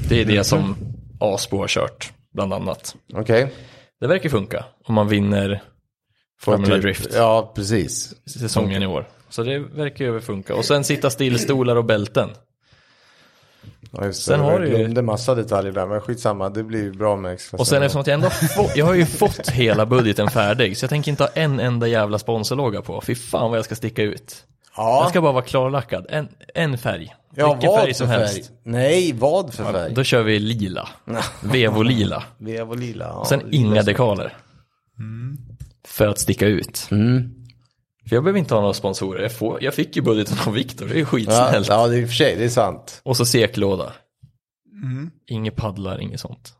Det är det som Aspo har kört, bland annat.
Okej.
Det verkar funka om man vinner Formula
Typ-
Drift
Ja, precis.
säsongen i år. Så det verkar ju funka. Och sen sitta still, stolar och bälten.
Ja, just
Sen
det.
har
Jag
du ju-
glömde massa detaljer där, men skitsamma. Det blir ju bra med extra.
Och sen eftersom att jag ändå få, jag har ju fått hela budgeten färdig så jag tänker inte ha en enda jävla sponsorlogga på. Fy fan vad jag ska sticka ut.
Ja,
Jag ska bara vara klarlackad. En, en färg.
ja
Vilken
vad
färg som
för
helst.
färg? Nej, vad för färg?
Då kör vi lila. Vevolila.
Vev och lila. Ja.
Sen inga dekaler. För att sticka ut.
Mm.
För jag behöver inte ha några sponsorer. Jag, får, jag fick ju budgeten av Viktor. Det är ju
ja,
skitsnällt.
ja, det är i och för sig, det är sant.
Och så seklåda. Inga paddlar, inget sånt.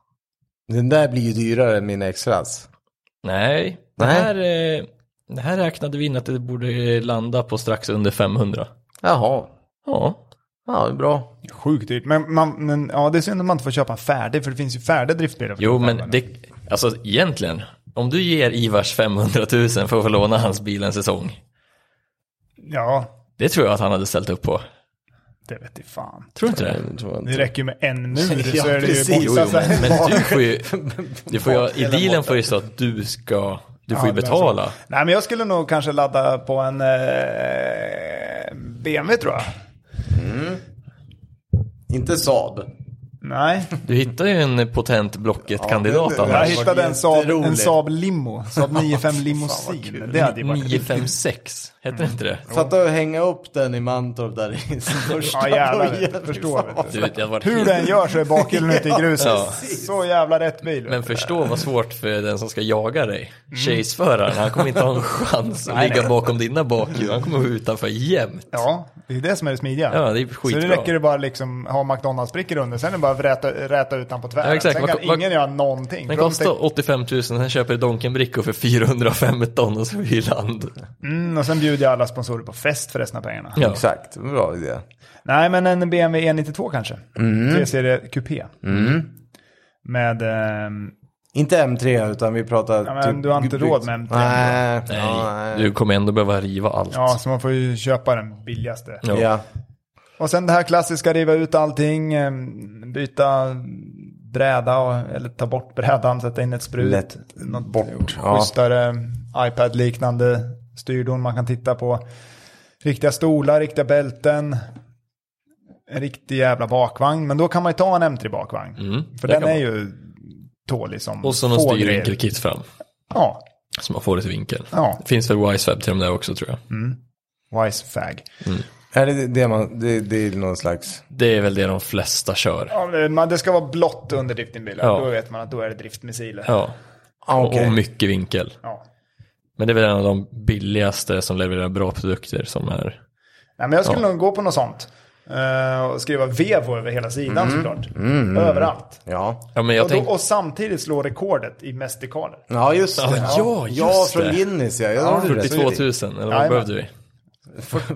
Den där blir ju dyrare än min extras.
Nej, det,
Nej.
Här, eh, det här räknade vi in att det borde eh, landa på strax under 500.
Jaha.
Ja,
Ja, det är bra.
Sjukt dyrt. Men, man, men ja, det är synd om man inte får köpa en färdig, för det finns ju färdiga driftbilar. för
jo
de här
men
pengarna.
det, alltså egentligen, om du ger Ivars 500 000 för att få låna hans bil en säsong,
Ja,
det tror jag att han hade ställt upp på.
det vet i fan.
Tror du inte det?
Det räcker ju med
(laughs)
en mur
Ja,
så är det
precis.
ju
Jo,
Jo,
borta. så
men,
här.
men du får ju, du får ju, i
Hela
dealen får ju så att du ska, du får ju
(laughs) Ja, det är så.
betala.
Nej, men jag skulle nog kanske ladda på en eh, BMW tror jag.
Inte Saab.
(laughs)
Nej,
Du hittar ju en potent Blocket-kandidat
det- det-
jag
annars.
hittade en Saab, en
jätteroligt.
Saab Limo,
(laughs)
Saab 95 Limousin. Det hade ju varit...
956, hette det inte det?
Fatta att hänga upp den i Mantorp där i (laughs) sin första
(laughs) Ja,
(laughs)
jävlar,
början.
jag förstår,
Fan, vad-
vet
Du, det hade varit
Hur
helt-
den gör så är bakhjulen ute i
(laughs)
gruset.
Ja.
Så jävla rätt bil.
Men förstå vad svårt för den som ska jaga dig. Chaseföraren, han kommer inte ha en chans att ligga bakom dina bakhjul. Han kommer vara utanför jämt.
Ja, det är det som är det smidiga.
Ja, det är
så
skitbra.
det räcker det bara liksom ha McDonalds-brickor under, sen är det bara att räta, räta ut den på tvären.
Ja, exakt.
Sen kan
Vad- vad-
ingen göra någonting.
Den
För de
kostar 85 000, sen köper du Donken-brickor för 415 och så är vi i land.
tänker- Mm, och sen bjuder jag alla sponsorer på fest för resten av pengarna.
Ja.
Exakt, det var en bra idé.
E Nej, men en BMW E92 kanske. Mm. Tre-serie kupé. Med... ehm,
Inte M3 utan vi pratar... typ
Ja, men du har inte råd med M3.
Nej.
Nej,
Ja, nej.
du kommer ändå behöva riva allt.
ja, så man får ju köpa den billigaste.
Ja.
Ja.
Och sen det här klassiska, riva ut allting, eh, byta bräda och, eller ta bort brädan, sätta in ett sprut.
Lätt
något
bort, ja.
schysstare iPad-liknande styrdon man kan titta på. Riktiga stolar, riktiga bälten. En riktig jävla bakvagn, men då kan man ju ta en M3 bakvagn.
Mm,
För
det
den
kan
är
man.
ju tålig som
Och så någon
få grejer.
styrvinkelkit fram.
Ja,
Så man får lite vinkel.
ja.
Det finns väl Wisefab till de där också tror jag.
Wisefag.
Är det det man... Det, det är någon slags...
Det är väl det de flesta kör.
Ja, men man- det ska vara blått under driftingbilen.
Ja.
Då vet man att då är det driftmissiler.
Ja.
Ah, okej.
Och mycket vinkel.
Ja.
Men det är väl en av de billigaste som levererar bra produkter som är...
Nej, men jag skulle
Ja.
nog gå på något sånt. Eh, och skriva vevo över hela sidan såklart. Överallt.
Ja.
Ja, men jag
Och, då,
tänkte...
och samtidigt slå rekordet i mest dekaler.
Ja, just det.
Ja, ja, just
ja från
det.
Guinness ja. Jag har rätt.
42 000, eller vad
Jajamän.
behövde vi?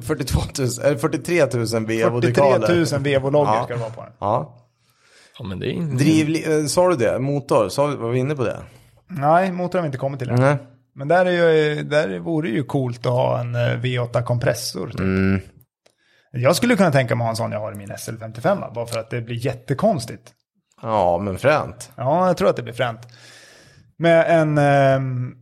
42 000, eller 43 000 vevodekaler.
43 000 vevo-loggor
Ja.
ska det vara på den.
Ja.
Ja, men det är inte...
Driv, eh, sa du det? Motor, sa, vi- var vi inne på det?
Nej, motorn har vi inte kommit till än.
Nej.
Men där, är ju, där vore det ju coolt att ha en eh, V8-kompressor. Typ. Jag skulle kunna tänka mig att ha en sån jag har i min SL55, va? bara för att det blir jättekonstigt.
Ja, men fränt.
Ja, jag tror att det blir fränt. Med en... ehm,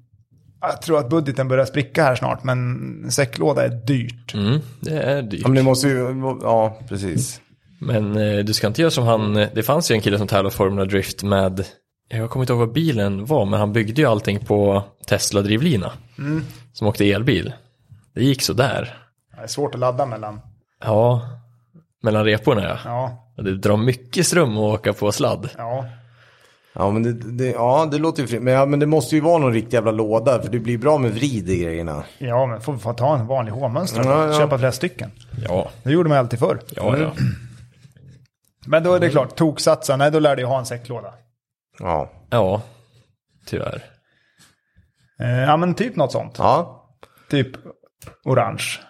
jag tror att budgeten börjar spricka här snart, men säcklåda är dyrt.
Mm, det är dyrt.
Ja, men det måste ju, ja, precis.
Men eh, du ska inte göra som han, eh, det fanns ju en kille som tävlade Formula Drift med, jag kommer inte ihåg vad bilen var, men han byggde ju allting på Tesla-drivlina. Som åkte elbil. Det gick sådär.
Det är svårt att ladda mellan.
Ja, mellan reporna ja.
Ja,
Och Det drar mycket ström att åka på sladd.
ja.
Ja, men det, det, ja, det låter ju fri. Men, ja, men det måste ju vara någon riktig jävla låda, för det blir bra med vrid i grejerna.
ja men får vi få ta en vanlig H-mönstrad
Ja,
och
ja.
köpa flera stycken.
Ja,
Det gjorde man alltid förr.
ja, ja.
Men då är det klart, toksatsa, nej då lär du ju ha en säcklåda.
Ja.
Ja, tyvärr.
Eh, ja, men typ något sånt.
Ja.
Typ orange.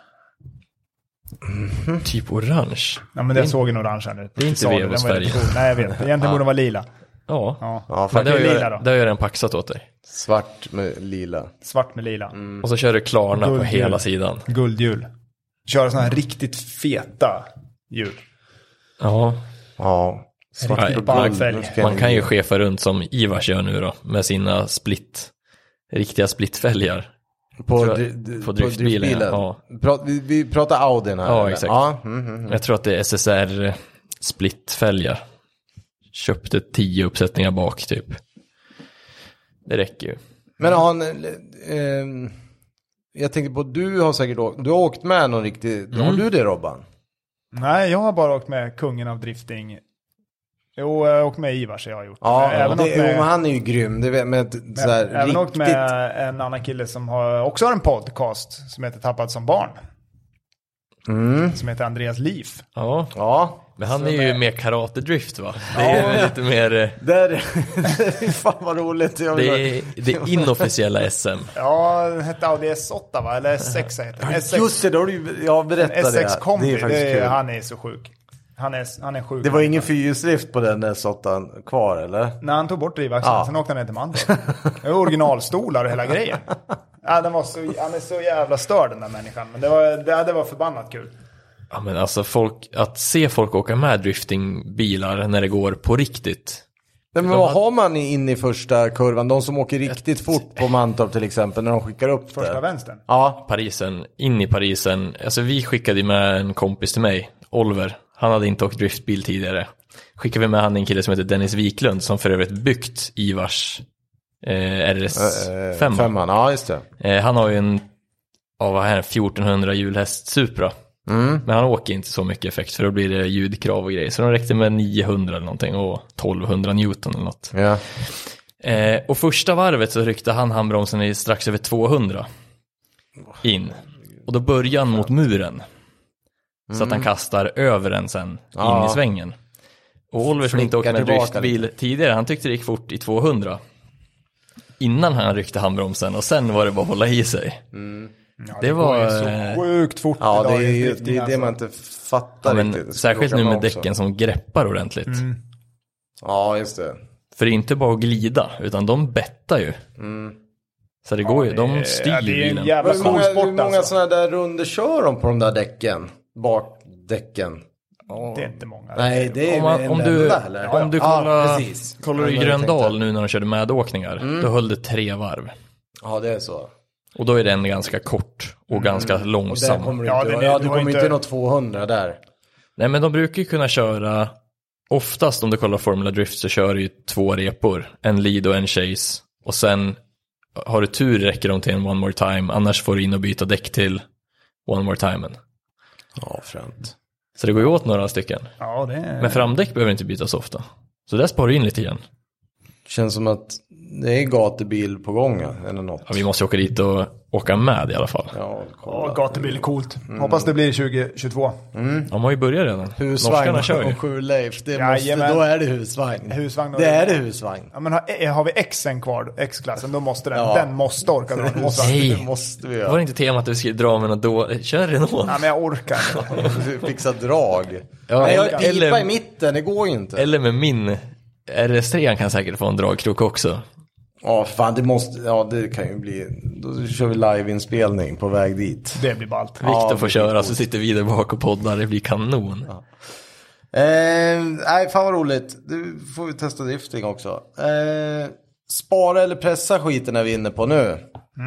Typ orange.
Ja, men jag såg en orange här nu.
det är inte
Sa du,
Vevos
den var jätte
färg.
cool. Nej, jag vet.
(laughs)
Egentligen borde den vara lila.
Ja,
Ja.
Ja,
men det har,
faktiskt.
ju,
det är lila då.
det har ju redan paxat åt dig.
Svart med lila.
Svart med lila.
Mm.
Och så kör du Klarna på
Guld.
hela sidan.
Guldhjul. Köra sådana här riktigt feta hjul.
Ja,
Ja.
Riktigt
och
ball
guld.
färg.
Nu ska jag-
Man kan ju chefa runt som Ivars gör nu då, med sina split, riktiga splitfälgar.
På,
tror jag-
dri- d-
på
på
driftbilen,
driftbilen.
ja.
Prat, vi, vi pratar Audin här.
Ja,
eller?
exakt.
Ja, mm, mm.
Jag tror att det är SSR splitfälgar. Köpte tio uppsättningar bak typ. Det räcker ju.
Men har han, eh, jag tänker på, du har säkert åkt, du har åkt med någon riktig, har du det Robban?
Nej, jag har bara åkt med kungen av drifting. Jo, jag har åkt med Ivars, jag har gjort.
Ja,
även
det,
åkt med,
jo, men han är ju grym, det vet men ett sådär
även åkt
riktigt.
med en annan kille som har, också har en podcast som heter Tappad som barn.
Mm.
Som heter Andreas Liv.
Ja,
Ja,
men han är ju mer karatedrift va? Det är lite mer, eh,
där, (laughs) fan vad roligt. Jag
det
vill-
är det inofficiella SM.
Ja, den hette Audi S8 va? Eller S6 heter den. S6,
Just det, då har du ju, ja berätta det.
S6 kombi,
det är faktiskt kul.
han är så sjuk. Han är, han är sjuk.
Det var ingen fyrhjulsdrift på den S8 kvar eller?
När han tog bort drivaxeln,
Ja.
sen åkte han ner till Mantorp. Det var
(laughs)
originalstolar och hela grejen. Ja, den var så, han är så jävla störd den där människan. Men det var, det, det var förbannat kul.
Ja men alltså folk, att se folk åka med driftingbilar när det går på riktigt.
Nej, men vad har man in i första kurvan? De som åker riktigt fort på Mantorp till exempel när de skickar upp
Första
det.
vänstern.
Ja,
Parisen, in i Parisen. Alltså vi skickade ju med en kompis till mig, Oliver. Han hade inte åkt driftbil tidigare. Skickade vi med han en kille som heter Dennis Wiklund som för övrigt byggt Ivars eh,
eh,
RS5.
femman. Ja, just det.
Eh, han har ju en, ja vad är det, 1400 hjulhäst Supra. Men han åker inte så mycket effekt för då blir det ljudkrav och grejer. Så de räckte med 900 eller någonting och 1200 Newton eller något.
Ja.
Eh, och första varvet så ryckte han handbromsen i strax över 200 in. Och då börjar han mot muren. Så att han kastar över den sen in
Ja.
i svängen. Och Oliver som inte åkt med en
Flickar tillbaka
driftbil tidigare, han tyckte det gick fort i 200. Innan han ryckte handbromsen och sen var det bara att hålla i sig. det var... eh,
Så sjukt fort
Ja, det
idag
är
i
ju
drifting,
det, är det
alltså.
man inte fattar
ja, men
riktigt. Det skulle
särskilt
åka
nu med
bak så.
Mm.
däcken som greppar ordentligt.
Ja, just det.
För det är inte bara att glida, utan de bettar ju. Så det går ju, de styr Eh,
ja,
ja,
det är en
bilen.
jävla
Hur
cool
många,
sport
hur många
alltså.
sådana där runder kör de på de där däcken? Bakdäcken?
Det är inte många.
Nej, det är om
Om, man,
en
om du,
enda, eller?
om du
Ja,
kollar,
precis.
kollar du i
Ja, det tänkte Mm. jag.
Gröndal nu när de körde medåkningar, då höll det tre varv.
Ja, det är så.
Och då är den ganska kort och ganska
Mm. Och
långsam.
där kommer du
Ja,
inte,
den är-
ja,
det
du
var
kommer
inte-
inte nå 200 där.
Nej men de brukar ju kunna köra, oftast om du kollar Formula Drift så kör du ju två repor, en lead och en chase. Och sen har du tur räcker de till en one more time, annars får du in och byta däck till one more timen.
Ja, fränt.
Så det går ju åt några stycken.
Ja, det är...
Men framdäck behöver inte bytas ofta. Så där sparar du in lite igen.
Känns som att det är gatubil på gång ja, eller något.
Ja, vi måste åka dit och åka med i alla fall.
Ja,
Ja,
kolla.
gatubil är coolt. Hoppas det blir 2022.
De har ju börjat redan. Norskarna kör
Husvagn
ju.
och sju Leif, det måste,
Jajamän.
då är det husvagn.
Husvagn och-
det är det husvagn.
Ja, men har, eh, har vi Xen kvar, X-klassen, då måste den,
Ja.
den måste orka dra. Den Måste,
Nej.
Det måste vi
Var
göra.
det inte temat att vi skulle dra med något då? Kör Renault.
Nej, men jag orkar
(laughs)
inte.
Fixa drag.
Ja,
Nej, jag
eller-
har pipa i mitten, det går ju inte.
Eller med min RS3 kan säkert få en dragkrok också.
Ja, fan det måste, ja det kan ju bli, då kör vi liveinspelning på väg dit.
Det blir ballt.
Viktor
Ja,
får köra så sitter vi där bak och poddar, det blir kanon.
Eh, nej, fan vad roligt. Du får vi testa drifting också. Eh, spara eller pressa skiten är vi inne på nu.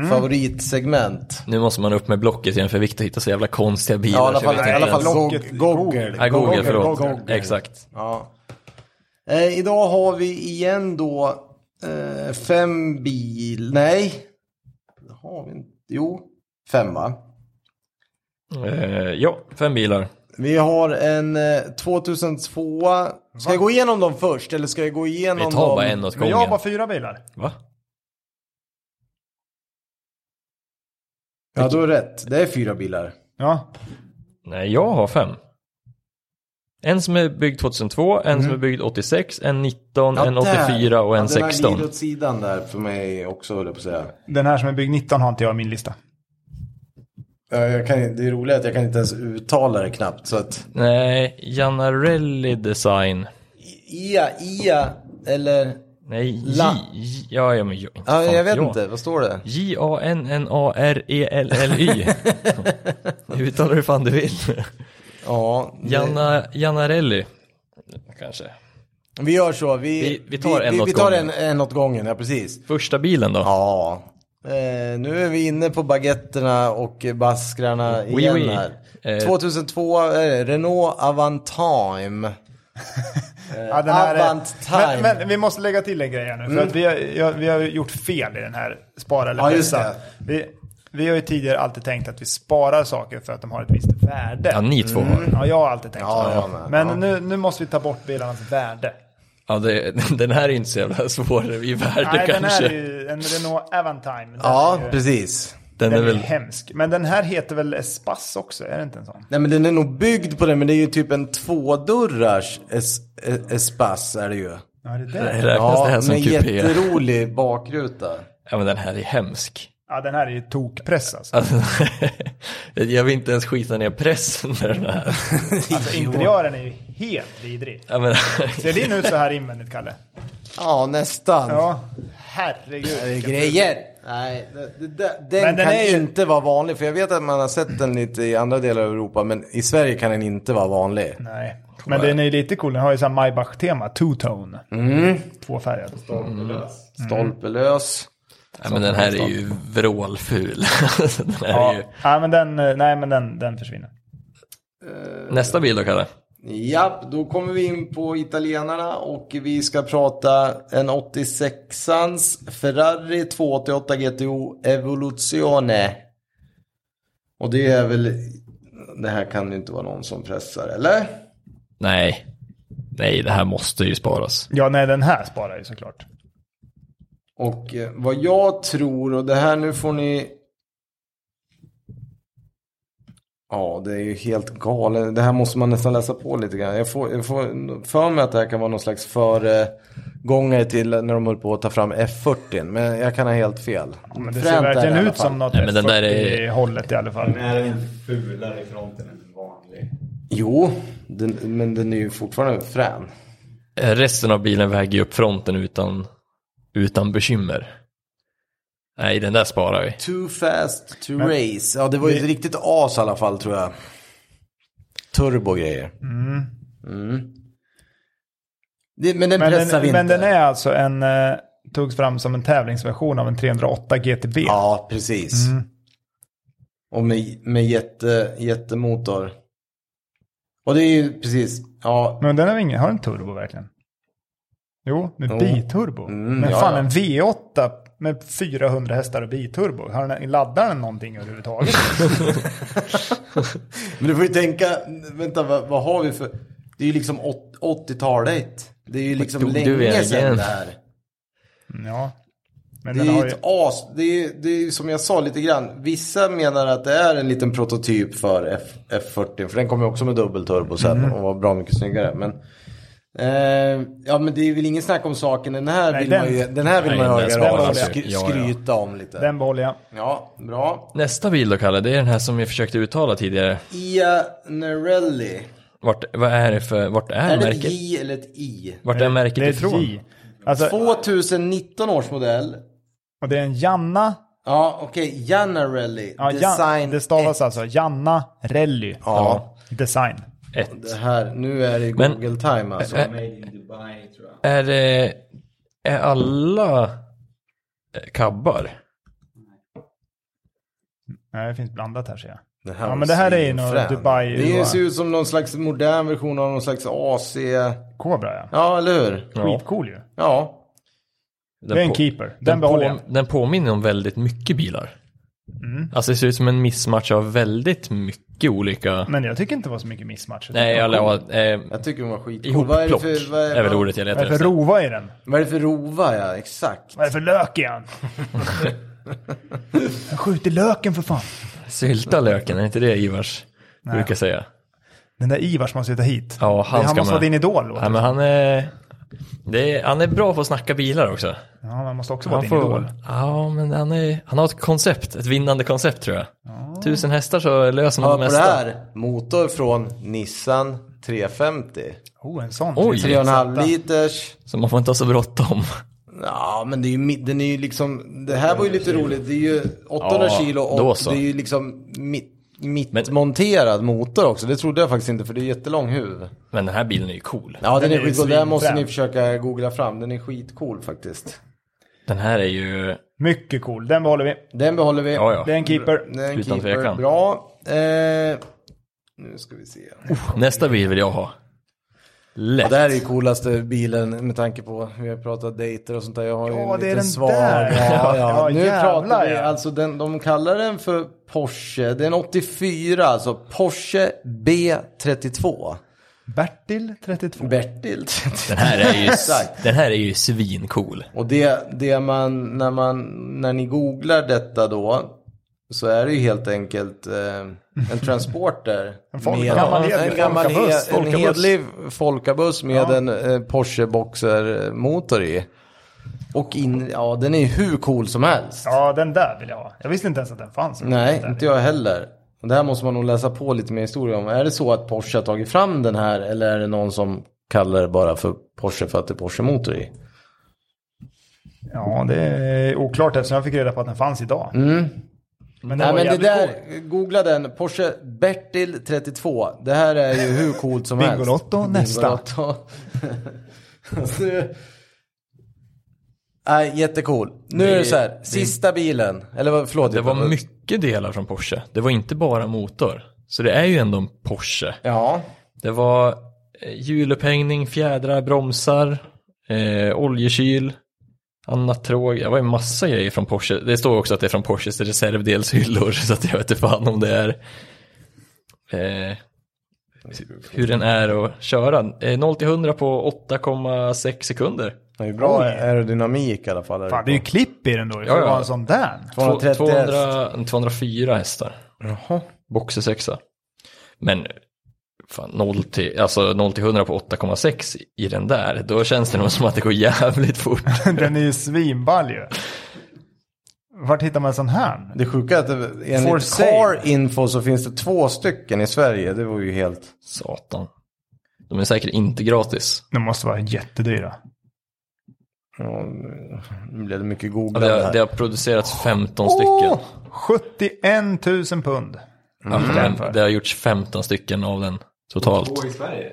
Favoritsegment.
Nu måste man upp med blocket igen för Viktor hittar så jävla konstiga bilar.
Ja, i alla
så jag
fall,
vet
i
inte
alla fall
ens.
Gog- Goggle.
Nej, Google, förlåt.
Goggle.
Exakt.
Ja. Eh, idag har vi igen då eh, fem bil, nej. Det har vi inte. Jo, fem va?
Eh, ja, fem bilar.
Vi har en eh, 2002. Ska jag gå igenom dem först eller ska jag gå igenom
Vi tar
dem?
bara en åt
Men jag har
gången.
bara fyra bilar.
Va?
Ja, du har rätt. Det är fyra bilar.
Ja,
Nej, jag har fem. En som är byggd 2002, en som är byggd 86, en 19, en 84 och en
Mm. ja, Den har
16.
glidit åt sidan där för mig också höll jag på att säga.
den här som är byggd 19 har inte jag i min lista.
Ja, Jag kan, det är roligt att jag kan inte ens uttala det knappt. Så att,
Nej, Janarelli Design.
ia, ia, eller?
Nej, J...
La.
J- Ja, ja, men jag,
Ja,
inte fan
jag vet
jag.
inte, vad står det?
E J-A-N-N-A-R-E-L-L-Y. Uttala hur fan du vill.
Ja, det-
Janna, Janarelli. Kanske.
vi gör så. Vi,
Vi- vi tar en
vi,
åt
vi tar en,
gången.
en åt gången. Ja, precis.
Första bilen då?
Ja. Eh, nu är vi inne på baguetterna och baskrarna
Oui,
igen
oui.
här.
Eh.
2002, eh, Renault Avantime.
Ja, den här är-
Avant time.
Men, men vi måste lägga till en grej här nu. För att vi, har, ja, vi har ju gjort fel i den här spara eller
Ja, just
pressa. Vi, vi har ju tidigare alltid tänkt att vi sparar saker för att de har ett visst värde.
Ja, ni två har.
Mm, Ja, jag har alltid tänkt
Ja,
så.
jag med.
men
Ja.
nu, nu måste vi ta bort bilarnas värde.
Ja, det, den här är inte så jävla svår i värde
Nej, den här
kanske.
är ju en Renault Avantime. Den
Ja,
är ju,
precis.
Den
den
är
är
väl...
hemsk. Men den här heter väl Espace också? Är det inte en sån?
Nej men den är nog byggd på det, men det är ju typ en tvådörrars es, es, espass är det ju.
Ja, det är det.
Räknas det här som
med
kupé?
jätterolig bakruta.
Ja, men den här är hemsk.
Ja, den här är ju tokpress alltså.
Alltså, (laughs) jag vill inte ens skita ner pressen med den här.
alltså interiören är ju helt vidrig.
Jag menar,
Ser din ut så här invändigt, Kalle?
(laughs) Ja, nästan.
Ja, herregud.
Det är grejer. Nej, det, det, det, den,
Men den
kan
är ju-
inte vara vanlig. För jag vet att man har sett den lite i andra delar av Europa. Men i Sverige kan den inte vara vanlig.
Nej, men den är ju lite cool. Den har ju så här Maybach-tema, two-tone.
Mm.
Tvåfärgad.
Mm.
Stolpelös.
ja, men den här är ju vrålful. (laughs) den här är ju...
Ja, ja, men den, eh, nej, men den, den försvinner.
Nästa bil då, Kalle.
Japp, då kommer vi in på italienarna och vi ska prata en 86ans Ferrari 288 GTO Evoluzione. Och det är väl, det här kan ju inte vara någon som pressar, eller?
Nej. Nej, det här måste ju sparas.
Ja, nej, den här sparar ju såklart.
Och eh, vad jag tror, och det här nu får ni... Ja, det är ju helt galet. Det här måste man nästan läsa på lite grann. Jag får, jag får för mig att det här kan vara någon slags föregångare till när de höll på att ta fram F40. Men jag kan ha helt fel.
Men det
Fränt
ser
är i
verkligen
alla
ut
fall.
som något
Nej, men den där är-
hållet i alla fall.
Den är inte fulare i fronten än en vanlig.
Jo, den, men den är ju fortfarande frän.
Eh, Resten av bilen väger ju upp fronten utan, utan bekymmer. Nej, den där sparar vi.
Too fast to race. Ja, det var ju ett riktigt as i alla fall tror jag. Turbo-grejer. Mm. Det, men den
Men
pressar vi
den,
inte.
men den är alltså en, eh, togs fram som en tävlingsversion av en 308 GTB.
Ja, precis.
Mm.
Och med, med jätte, jättemotor. Och det är ju precis, ja,
Men den har ingen, har den turbo verkligen? Jo, med biturbo.
Mm,
men
ja,
fan
ja.
en V8 med 400 hästar och biturbo. Har den, laddar den
(laughs)
någonting överhuvudtaget?
men du får ju tänka, vänta, vad, vad har vi för, det är ju liksom åt- 80-talet. Det är ju liksom
tog du
länge
vägen?
sedan det här.
ja. Men
Det
den
är ju
har ju...
ett as, det är, ju- det är ju som jag sa lite grann, vissa menar att det är en liten prototyp för F, F40, för den kommer ju också med dubbelturbo sen
Mm.
och var bra mycket snyggare. Men, eh, ja men det är väl ingen snack om saken, den här
Nej,
vill
den-
man ju, den här vill
Nej,
man ju
den
höra
sparar
och
sig.
skry,
Ja, ja.
skryta om lite.
Den behåller jag.
Ja, bra.
Nästa bil då, Kalle, det är den här som vi försökte uttala tidigare.
Ia Nerelli.
Vart, vad är det för, vart är,
Är det ett
märket?
J eller ett I?
Vart är märket
det är ett
ifrån?
J. Alltså,
2019 års modell.
och det är en Janna.
Ja, okej. Janarelli.
Ja,
Design
Jan, det stavas
ett.
alltså Janna Rally.
Ja.
Design.
Ett.
Det här, nu är det
Men-
Google time alltså.
Made in Dubai tror jag.
Är det, är alla eh, kabbar?
Nej, det finns blandat här ser jag.
Det här
Ja,
var
men det här är ju någon
svinfrän.
Dubai-
Det är- ser ut som någon slags modern version av någon slags AC.
Cobra ja.
Ja, eller hur?
Skitcool ju.
Ja.
Den
Det är en
på-
keeper. Den,
Den,
behåller
på, den påminner om väldigt mycket bilar.
Mm.
Alltså det ser ut som en mismatch av väldigt mycket olika.
jag. Men jag tycker inte det var så mycket missmatch.
Nej, jag la, eh,
Jag tycker den var skitcool. Vad är det
ihopplock
för, vad är,
är väl ordet jag
Vad är
letar
det för
efter.
rova i den?
Vad är det för rova, ja. Exakt.
Vad är det för lök i
(laughs)
han? jag skjuter löken för fan.
Sylta löken, är inte det Ivars brukar säga?
Den där Ivars måste jag ta hit.
Ja, han ska
Det- han måste
med.
vara din idol. låter
Nej, men han är, det är, han är bra på att snacka bilar också.
det. Ja, han måste också vara
Han
din idol.
ja, men han, är, han har ett koncept, ett vinnande koncept tror jag. Tusen hästar så löser man
Hör
det
på det
mesta.
här. Motor från Nissan 350.
Oh, en sån.
Oj.
3,5 liters.
Så man får inte ha så bråttom. (laughs)
Ja, men det är ju, mi- den är ju liksom, det här var ju lite roligt. Det är ju 800
Ja,
kilo
då
och
så.
det är ju liksom mitt, mittmonterad motor också. Det trodde jag faktiskt inte för det är jättelång huv.
Men den här bilen är ju cool.
Ja, den,
Den
är
är ju
skitcool. Där måste
svinfrän.
ni försöka googla fram. Den är skitcool faktiskt.
Den här är ju,
Mycket cool. Den behåller vi.
Den behåller vi.
ja ja.
Det är en keeper.
Den
Utan
keeper.
tvekan.
Bra. Eh, nu ska vi se.
Nästa bil vill jag ha. Lätt.
Det här är ju coolaste bilen med tanke på, vi har pratat dejter och sånt där. Jag har ju
Ja,
en
det är
liten
den
svag.
där.
Ja, ja.
Ja,
Nu
jävlar,
pratar vi,
ja.
alltså den, de kallar den för Porsche. Det är en 84, alltså Porsche B32.
Bertil 32.
Bertil 32.
Den här är ju,
Exakt.
den här är ju svincool.
Och det, det man, när man, när ni googlar detta då, så är det ju helt enkelt eh, en transporter.
folk-
med-
(laughs) en gammal
en,
hederlig
gammal he-
folkabuss.
en
Folkabuss.
hedlig folkabuss med en eh, Porsche Boxer-motor i. Och in, ja den är ju hur cool som helst.
Ja, den där vill jag ha. Jag visste inte ens att den fanns.
Nej,
Den
inte
där.
jag heller. Och det här måste man nog läsa på lite mer historia om. Är det så att Porsche har tagit fram den här eller är det någon som kallar det bara för Porsche för att det är Porsche-motor i?
Ja, det är oklart eftersom jag fick reda på att den fanns idag.
Mm.
Men den
Nej
var
men det
jävligt
där,
cool.
googla den, Porsche Bertil 32. Det här är ju hur coolt som helst.
Bingolotto, nästa.
Bingolotto. (laughs) alltså, det- Nej, jättecool. Nu är det så här, sista bilen, eller vad- förlåt.
Det
jag-
var mycket delar från Porsche. Det var inte bara motor. Så det är ju ändå en Porsche.
Ja,
Det var eh, hjulupphängning, fjädrar, bromsar, eh, oljekyl, annat tråg. Det var ju massa grejer från Porsche. Det står också att det är från Porsches reservdelshyllor. (laughs) Så att jag vet inte fan om det är eh, hur den är att köra. Eh, 0-100 på 8,6 sekunder.
det är ju bra
Oj.
aerodynamik i alla fall.
Fan, det är ju klipp i den då.
Ja,
Ja,
ja.
ja. en sån där.
230
200, 204 hästar.
Jaha.
Boxer sexa. Men fan, 0 till, alltså 0 till 100 på 8,6 i den där, då känns det nog som att det går jävligt fort.
(laughs) Den är ju svinball ju. Vart hittar man en sån här?
Det sjuka är att det-
For
enligt
sale.
Car Info så finns det två stycken i Sverige. Det var ju helt...
Satan. De är säkert inte gratis.
De måste vara jättedyra.
Ja, nu blev det mycket googlande
Det har,
här.
det har producerats 15 stycken.
71 000 pund.
Fem, det har gjorts 15 stycken av den totalt.
Två i Sverige.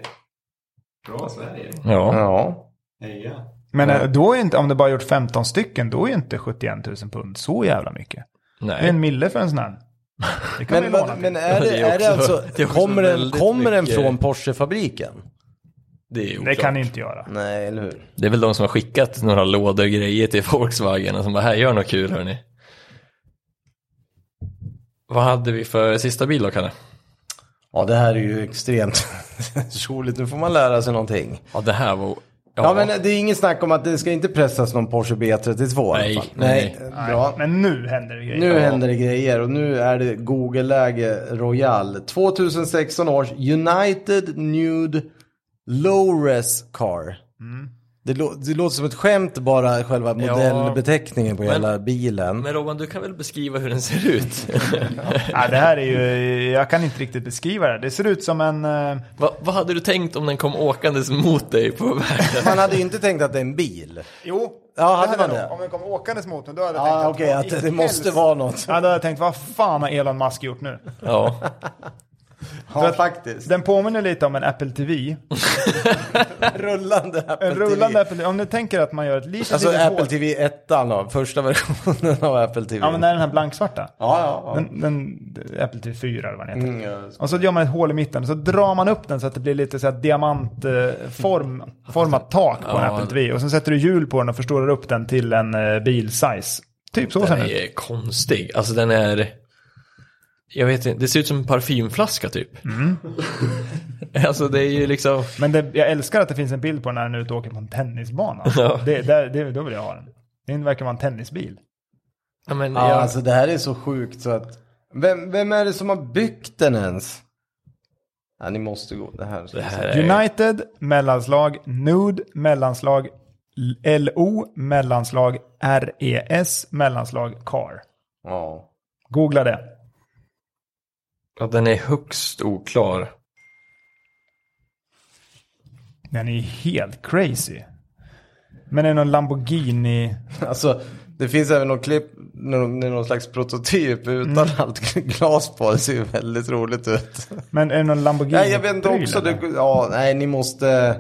Bra Sverige.
Ja,
Ja.
Heja.
Men eh, då är inte, om det bara gjort 15 stycken, då är inte 71 000 pund så jävla mycket. Det är
nej.
en mille för en sån här. Det kan
Men,
men, man
vad,
ju
men
men,
är
Det
det,
är
är det
också-
alltså,
(laughs) det är också
kommer den,
väldigt
kommer den
mycket-
från Porsche-fabriken?
Det är
Det
oklart.
kan ni inte göra.
Nej, eller hur?
Det är väl de som har skickat några lådor grejer till (laughs) Volkswagen och som bara, här gör något kul hörni. Vad hade vi för sista bil då Kalle?
Ja, det här är ju extremt (laughs) roligt. Nu får man lära sig någonting.
Ja det här var...
Ja, men det är inget snack om att det ska inte pressas någon Porsche B32
Nej,
i alla fall. eh,
nej,
Bra.
Men nu händer det grejer.
Nu händer det grejer och nu är det Google-läge Royal. 2016 års United Nude Low-Res Car.
Mm.
Det, lå- det låter som ett skämt bara själva modellbeteckningen på hela bilen.
men Robban, du kan väl beskriva hur den ser ut? (laughs)
Ja, det här är ju, jag kan inte riktigt beskriva det. Det ser ut som en... eh,
Va, vad hade du tänkt om den kom åkandes mot dig på vägen?
Man hade ju inte tänkt att det är en bil.
Jo,
Ja, hade man det?
Om den kom åkandes mot den, då hade jag tänkt
Ja, Ah,
att
okej,
vad
att
i
det måste
helst-
vara något.
Ja, då hade jag tänkt, vad fan har Elon Musk gjort nu?
Ja,
Ja, faktiskt.
Den påminner lite om en Apple TV.
Rullande Apple
En rullande
TV.
Apple TV. Om ni tänker att man gör ett litet,
Alltså
litet
Apple
hål.
TV 1 av första versionen av Apple TV.
Ja, men när den här blanksvarta.
ja, ja.
Den, den, Apple TV 4 eller vad den heter.
Mm, ja.
Och så gör man ett hål i mitten och så drar man upp den så att det blir lite så här diamantformat tak på en
Ja.
Apple TV. Och sen sätter du hjul på den och förstorar upp den till en eh, bilsize. Typ så ser
den
den ut.
är konstig. Alltså den är... Jag vet inte, det ser ut som en parfymflaska typ. (laughs) alltså det är ju liksom...
Men det, jag älskar att det finns en bild på den när den är ute och åker på en tennisbana.
Ja.
Det, där, det, då vill jag ha den. Det verkar vara en tennisbil.
Ja, men,
Ja,
jag,
alltså det här är så sjukt så att... Vem, vem är det som har byggt den ens? Ja, ni måste gå. Det här.
det här är...
United, mellanslag, Nude, mellanslag, LO, mellanslag, RES, mellanslag, CAR.
Ja.
Googla det.
Ja, den är högst oklar.
Den är ju helt crazy. Men är det någon Lamborghini?
Alltså, det finns även något klipp, någon, någon slags prototyp utan allt glas på. Det ser ju väldigt roligt ut.
Men är det någon Lamborghini?
Nej, jag vet inte också.
Det...
Det, ja, nej, ni måste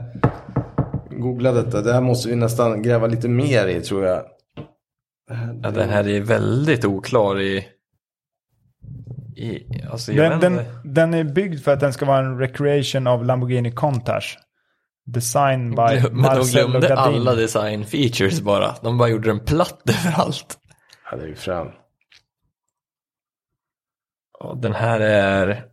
googla detta. Det här måste vi nästan gräva lite mer i tror jag.
Ja, den här är väldigt oklar i... i alltså, jag vet
Den, den,
inte.
den är byggd för att den ska vara en recreation av Lamborghini Countach. Design by
Men de
Marcello
glömde
Gadin.
alla design features bara. De bara gjorde den platt (laughs) överallt.
Ja, det är ju fram.
Ja, den här är...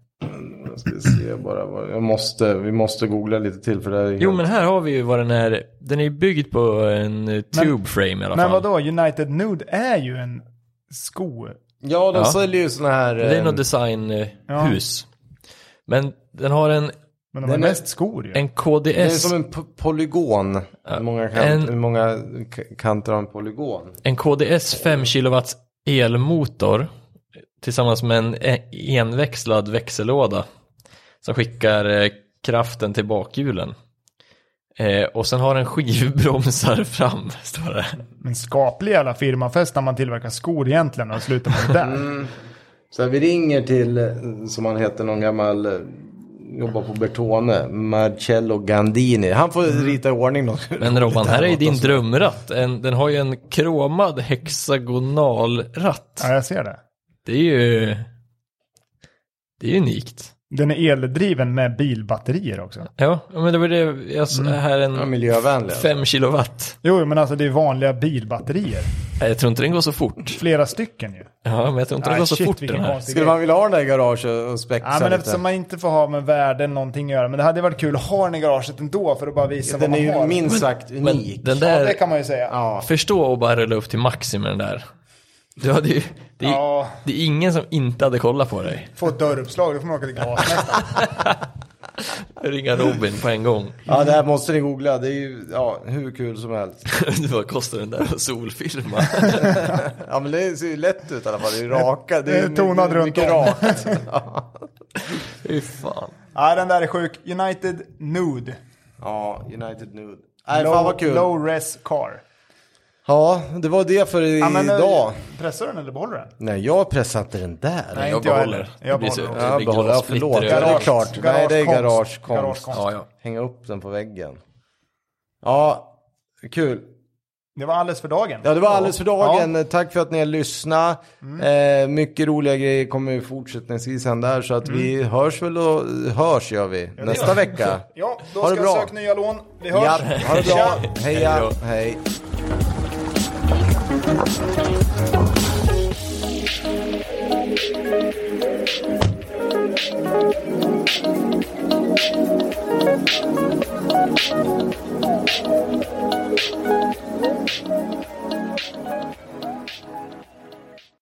Jag ska se bara. vad- Jag måste, vi måste googla lite till för det här är
Jo men här har vi ju vad den är. Den är ju byggd på en eh, tube frame i alla
Men
fall.
vadå, United Nude är ju en sko.
Ja, de
Ja.
säljer ju såna här...
Det
eh,
är något
Ja.
designhus. Men den har en,
Men de har
Den är-
mest skor ju.
en
Det är
KDS,
som en po- polygon. Hur många, kant,
en-
hur många k- kanter har en polygon?
en KDS 5 kW elmotor tillsammans med en e- enväxlad växellåda som skickar eh, kraften till bakhjulen. Eh, och sen har den skivbromsar (laughs) fram, står det.
En skaplig jävla firmafest när man tillverkar skor egentligen och slutar med det där.
Mm. Så här, vi ringer till, eh, som han heter, någon gammal, eh, jobbar på Bertone, Marcello Gandini. Han får
Mm.
rita i ordning (laughs) något.
Men Robban,
roligt
här är ju
åt
din
oss.
drömratt. En, den har ju en kromad hexagonalratt.
Ja, jag ser det.
Det är ju... Det är ju unikt.
Den är eldriven med bilbatterier också.
Ja, ja, men det var det jag
Mm.
s- här
Ja,
en
miljövänliga.
5 kilowatt.
Jo, men alltså det är vanliga bilbatterier.
Nej, Jag tror inte den går så fort.
Flera stycken ju.
Ja, men jag tror inte den
Nej,
går så
shit,
fort
vilken
den här.
konstig
Skulle
grej.
man vilja ha den där i garaget och spexa
Ja, men
lite?
eftersom man inte får ha med värden någonting att göra. Men det hade varit kul att ha den i garaget ändå för att bara visa vad
Den är
man
ju
har.
minst sagt unik.
Men den
Ja, det
där,
kan man ju säga.
Ja.
förstå att bara rulla upp till Maxi med den där. Du hade ju, det, är,
Ja.
det är ingen som inte hade kollat på dig.
Få ett dörruppslag, då får man åka
(laughs)
till glasmästaren. (laughs)
Ringa Robin på en gång. (laughs)
ja, det här måste ni googla. Det är ju ja, hur kul som helst.
Du bara, kostar den där att solfilma?
(laughs) Ja, men det ser ju lätt ut i alla fall. Det är ju raka. Det är ju (laughs)
(laughs) Det är tonad
mycket- mycket
runt om.
rakt.
Fy fan.
Ja, den där är sjuk. United Nude.
Ja, United Nude. Nej,
low,
fan vad kul.
Low res car.
Ja, det var det för
Ja, men, eh,
idag.
Pressar du den eller behåller den?
Nej, jag pressar inte den där.
Nej,
jag
inte jag
behåller.
heller. Jag
Det blir så-
behåller
det
Ja,
blir
behålla,
glassplitter
förlåt. Ja, det
överallt.
är klart. Nej, det är
Garagekonst.
garagekonst.
Garagekonst.
Ja, ja.
Hänga upp den på väggen. Ja, kul.
Det var alldeles för dagen.
Ja, det var alldeles för dagen.
Ja.
Tack för att ni har lyssnat. Eh, mycket roliga grejer kommer ju fortsättningsvis hända här. Så att vi hörs väl och hörs gör vi nästa vecka.
Ja, då
Ha det
ska jag
bra.
söka nya lån. Vi hörs.
Ja, ha det bra.
Tja.
Hej
Heja,
då.
hej.